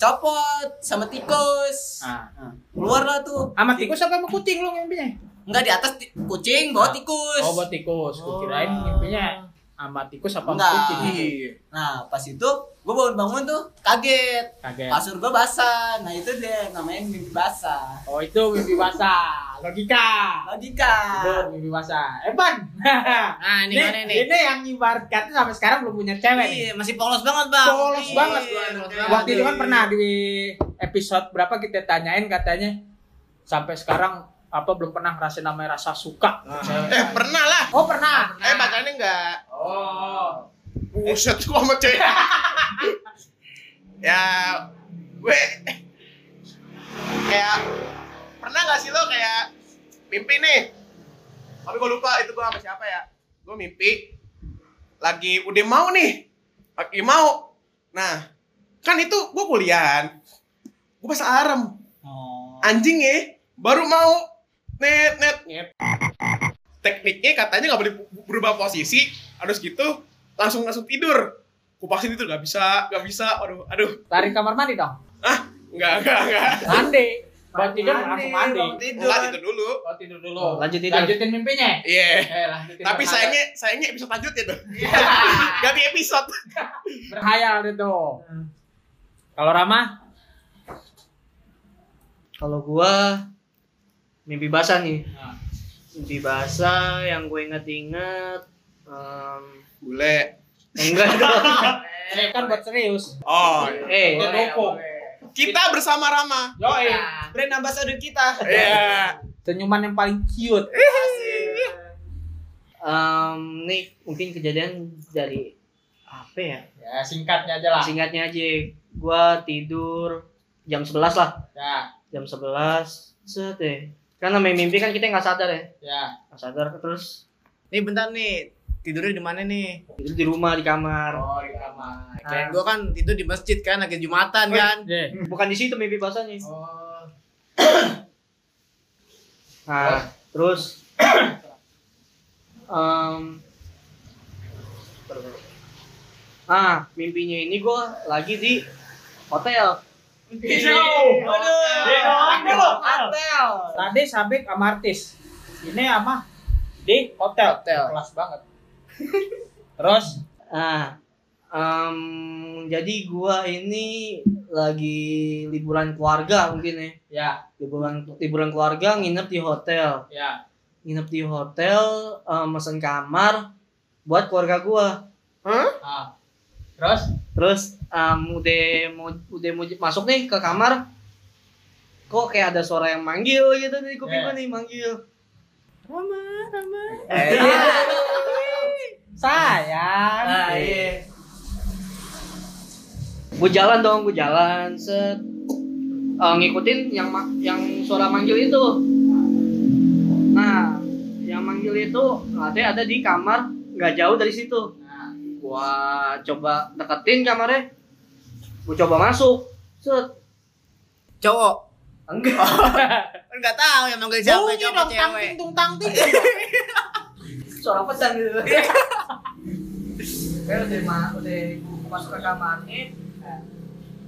E: copot sama tikus
B: Ah.
E: keluar lah tuh
B: Sama tikus apa sama kucing lu ngimpinya?
E: nggak di atas ti- kucing bawa tikus Oh.
B: Oh, buat tikus. Gua kirain ngimpinya sama tikus apa sama
E: Enggak.
B: kucing.
E: nah pas itu gue bangun-bangun tuh kaget
B: Kaget.
E: kasur gue basah nah itu deh namanya mimpi basah
B: Oh, itu mimpi basah. Logika.
E: logika
B: Itu mimpi basah. Evan.
C: Nah, ini
B: Nih,
C: mana
B: ini,
C: nih?
B: yang ibaratkan sampai sekarang belum punya cewek nih.
E: Iya, masih polos banget, Bang.
B: Polos
E: Iya,
B: banget.
E: polos banget.
B: Waktu itu kan pernah di episode berapa kita tanyain katanya sampai sekarang apa belum pernah ngerasain namanya rasa suka.
A: Eh, pernah lah.
B: Oh pernah.
A: Eh, makanya enggak.
B: Oh.
A: Buset, gua sama cewek. ya, gue kayak pernah gak sih lo kayak mimpi nih? Tapi gue lupa itu gue sama siapa ya? Gue mimpi lagi udah mau nih, lagi mau. Nah, kan itu gue kuliahan, gue pas alarm, anjing ya, baru mau net net net. Tekniknya katanya nggak boleh berubah posisi, harus gitu langsung langsung tidur gue vaksin tidur nggak bisa nggak bisa aduh aduh
B: Lari kamar mandi dong.
A: nggak nggak nggak
B: Mandi. Buat tidur langsung mandi.
A: nggak tidur dulu
B: Buat tidur dulu.
F: Lanjut tidur.
B: Lanjutin mimpinya.
A: iya
B: Eh,
A: Oh,
B: lanjutin
A: tapi
B: berhayal.
A: sayangnya sayangnya episode ya, lanjutnya tuh ganti episode
B: berhayal itu. Kalau Rama,
F: Kalau gua mimpi basah nih.
B: Nah.
F: Mimpi basah yang gue inget-inget em, eh,
A: bule
F: enggak dong.
B: kan buat serius.
A: oh
F: eh,
B: Itu dukung.
A: kita bersama Rama
B: Yoi.
E: Brand ambassador kita.
A: iya
B: Iya. Senyuman yang paling cute.
F: em, nih mungkin kejadian dari apa ya?
B: Ya, singkatnya aja
E: Nah.
B: lah.
F: Singkatnya aja, gua tidur jam 11 lah.
B: Ya,
F: Jam 11 set deh. Karena main mimpi kan kita nggak sadar ya.
B: ya.
F: Nggak sadar terus
E: Nih bentar nih. Tidurnya di mana nih?
F: tidur di rumah di kamar.
B: Oh, di kamar.
E: Kirain gua kan tidur di masjid kan lagi Jumatan kan.
B: iya.
F: Bukan di situ mimpi basahnya.
B: Oh.
F: Nah, terus em, ah mimpinya ini gue lagi di hotel.
B: Tadi lo Tadi sabik sama artis. Ini sama di hotel.
E: Hotel.
B: Kelas banget. Terus
F: Nah, em, jadi gue ini lagi liburan keluarga mungkin ya.
B: ya,
F: Liburan liburan keluarga nginep di hotel.
B: ya.
F: Nginep di hotel em, mesen kamar buat keluarga gue.
B: Ah. Terus
F: Terus em, udah mau udah mau masuk nih ke kamar kok kayak ada suara yang manggil gitu di kuping gue nih manggil.
E: Eh, iya.
B: sayang.
F: Ah,
E: iya.
F: Gue jalan dong, gue jalan set Eh, ngikutin yang ma- yang suara manggil itu. Nah, yang manggil itu katanya ada di kamar nggak jauh dari situ. Nah, Gua coba deketin kamarnya. Gue coba masuk. Set.
E: Cowok.
F: Enggak.
E: Kan enggak tahu yang manggil siapa cowok apa cewek.
B: tung Eh, tangting.
F: suara pesan gitu kayak udah ma udah gua masuk ke kamarnya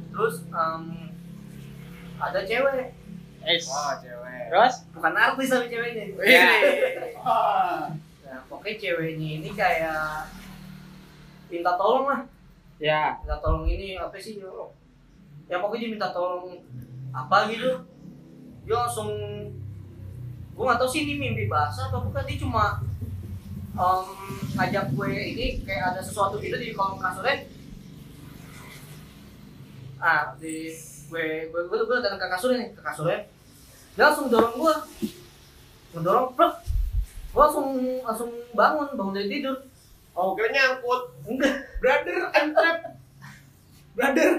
F: terus em, ada cewek
B: Terus
F: bukan artis tapi ceweknya
B: Ya.
F: nah pokoknya ceweknya ini kayak minta tolong lah
B: ya,
F: minta tolong ini apa sih ya Allah? ya pokoknya dia minta tolong apa gitu dia langsung gue gak tau sih ini mimpi basah atau bukan dia cuma em, ngajak gue ini kayak ada sesuatu gitu di kolong kasurnya ah di gue gue gue, gue datang ke kasurnya nih ke kasurnya dia langsung dorong gue mendorong plek gue langsung langsung bangun bangun dari tidur
A: oh kira nyangkut
F: enggak
A: brother I'm trapped brother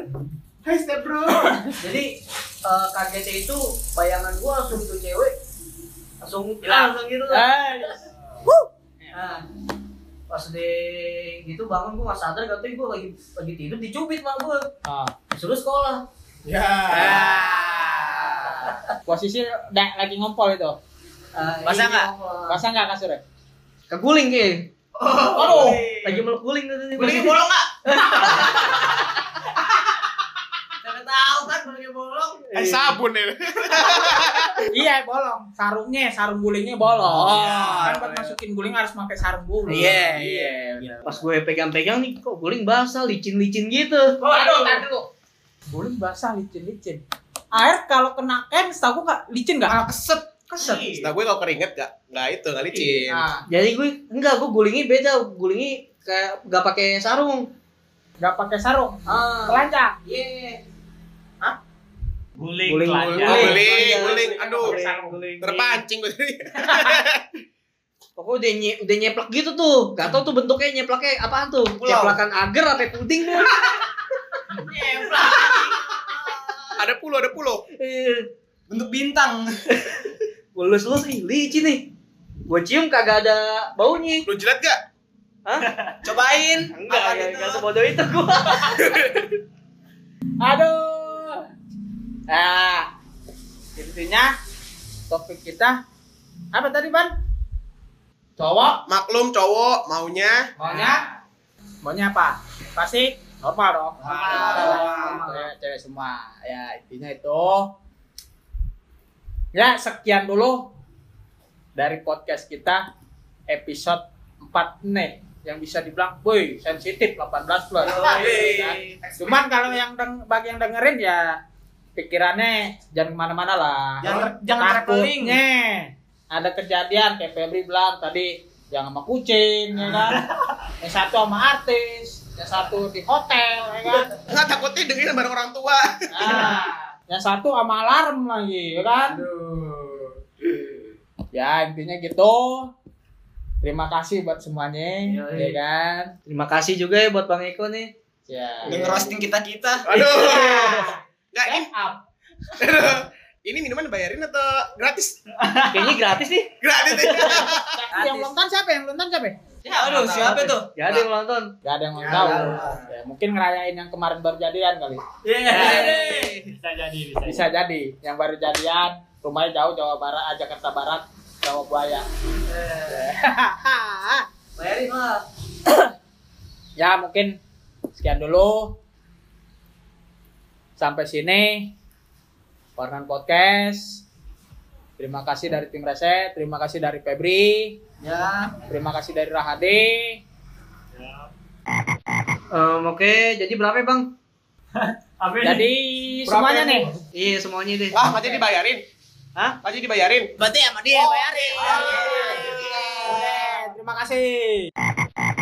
A: Hai step bro
F: jadi eh, kagetnya itu bayangan gua langsung itu cewek langsung hilang langsung gitu lah
B: Eh,
F: nah,
E: pas di gitu bangun gue nggak sadar katanya gue lagi lagi tidur dicubit mah gue
B: Ah.
E: disuruh sekolah
A: Ya.
B: Posisi da- lagi ngompol itu.
E: Basah Nah, nggak?
B: Basah nggak kasurnya?
F: Keguling kayak.
B: Aduh.
E: Oh,
F: Lagi meluk guling tuh tadi.
A: Beli bolong nggak?
E: Gak tahu kan pakai bolong.
A: Eh sabun ya.
B: iya bolong. Sarungnya, sarung gulingnya bolong.
E: Iya.
B: kan buat masukin guling harus pakai sarung guling.
E: Iya, iya.
F: Pas gue pegang-pegang nih kok guling basah, licin-licin gitu.
G: Oh, aduh, tahan dulu.
B: Guling basah licin-licin. Air kalau kena kain, setahu gua nggak licin nggak?
E: Ah,
A: Malah keset.
B: Keset.
A: Setelah gue kalau keringet nggak nggak itu nggak licin.
E: Iya.
B: Nah,
F: Jadi gue enggak gue gulingnya beda, gulingnya kayak gak pakai sarung.
B: nggak pakai sarung.
F: Ah.
B: Telanjang.
F: Iya.
D: Guling,
F: Guling,
A: Oh,
D: telanjang.
F: guling.
A: guling,
F: Iya,
A: guling.
F: guling.
A: Aduh,
F: Pakai
A: terpancing gue tadi.
F: Pokoknya udah nye, udah nyeplak gitu tuh. Gak tau tuh bentuknya nyeplaknya apaan tuh.
A: Pulau.
F: Nyeplakan agar apa puding tuh.
A: Ada pulau, ada pulau.
F: Iya.
A: Bentuk bintang.
F: Gue lulus-lulus nih, licin nih. Gue cium kagak ada baunya.
A: Lu jilat gak?
E: Cobain. gitu?
F: Enggak,
E: Apaan
F: enggak,
E: itu?
F: enggak sebodoh itu gue.
B: Aduh. Nah, intinya topik kita apa tadi, Ban? Cowok
A: Maklum cowok maunya
B: maunya maunya apa? Pasti normal dong.
E: Normal.
B: Cewek, cewek semua. Ya, intinya itu. Ya, sekian dulu dari podcast kita episode 4 nih yang bisa dibilang, boy, sensitif 18 plus. Kan? Cuman kalau yang deng- bagi yang dengerin ya pikirannya jangan kemana-mana lah.
E: Jangan- jangan traveling.
B: Takutnya Ada kejadian kayak Febri bilang tadi yang sama kucing ya kan. yang satu sama artis, yang satu di hotel ya kan.
A: nggak takutnya dengerin bareng orang tua.
B: Nah, yang satu sama alarm lagi ya kan. Ya intinya gitu. Terima kasih buat semuanya ya kan.
F: Terima kasih juga ya buat Bang Eko nih.
B: Ya.
E: Denger roasting kita-kita.
A: Aduh. Nggak ini,
B: Check up.
A: aduh. ini minuman bayarin atau gratis?
F: Kayaknya gratis nih.
A: Gratis ya.
B: Yang belum nonton siapa? Yang belum nonton siapa?
E: Ya, aduh, siapa itu?
F: Gak ada yang nonton.
B: Gak ada yang mau tahu. Ya, mungkin ngerayain yang kemarin baru jadian kali.
E: Iya, Yeay.
D: Bisa jadi, bisa.
B: Bisa jadi. Yang baru jadian, rumahnya jauh Jawa Barat, ah, Jakarta Barat, Jawa Buaya.
E: Bayarin lah.
B: ya, mungkin sekian dulu. Sampai sini. Warnan Podcast. Terima kasih dari tim Reset, terima kasih dari Febri,
E: Ya.
B: terima kasih dari Rahade.
F: Em, Oke, jadi berapa ya, Bang?
D: Apa ini?
B: Jadi semuanya nih.
F: Iya, semuanya deh.
A: Wah, nggak jadi bayarin.
F: Hah?
A: Nggak jadi bayarin.
E: Oh, iya, Berarti sama dia bayarin.
B: Oke, Terima kasih.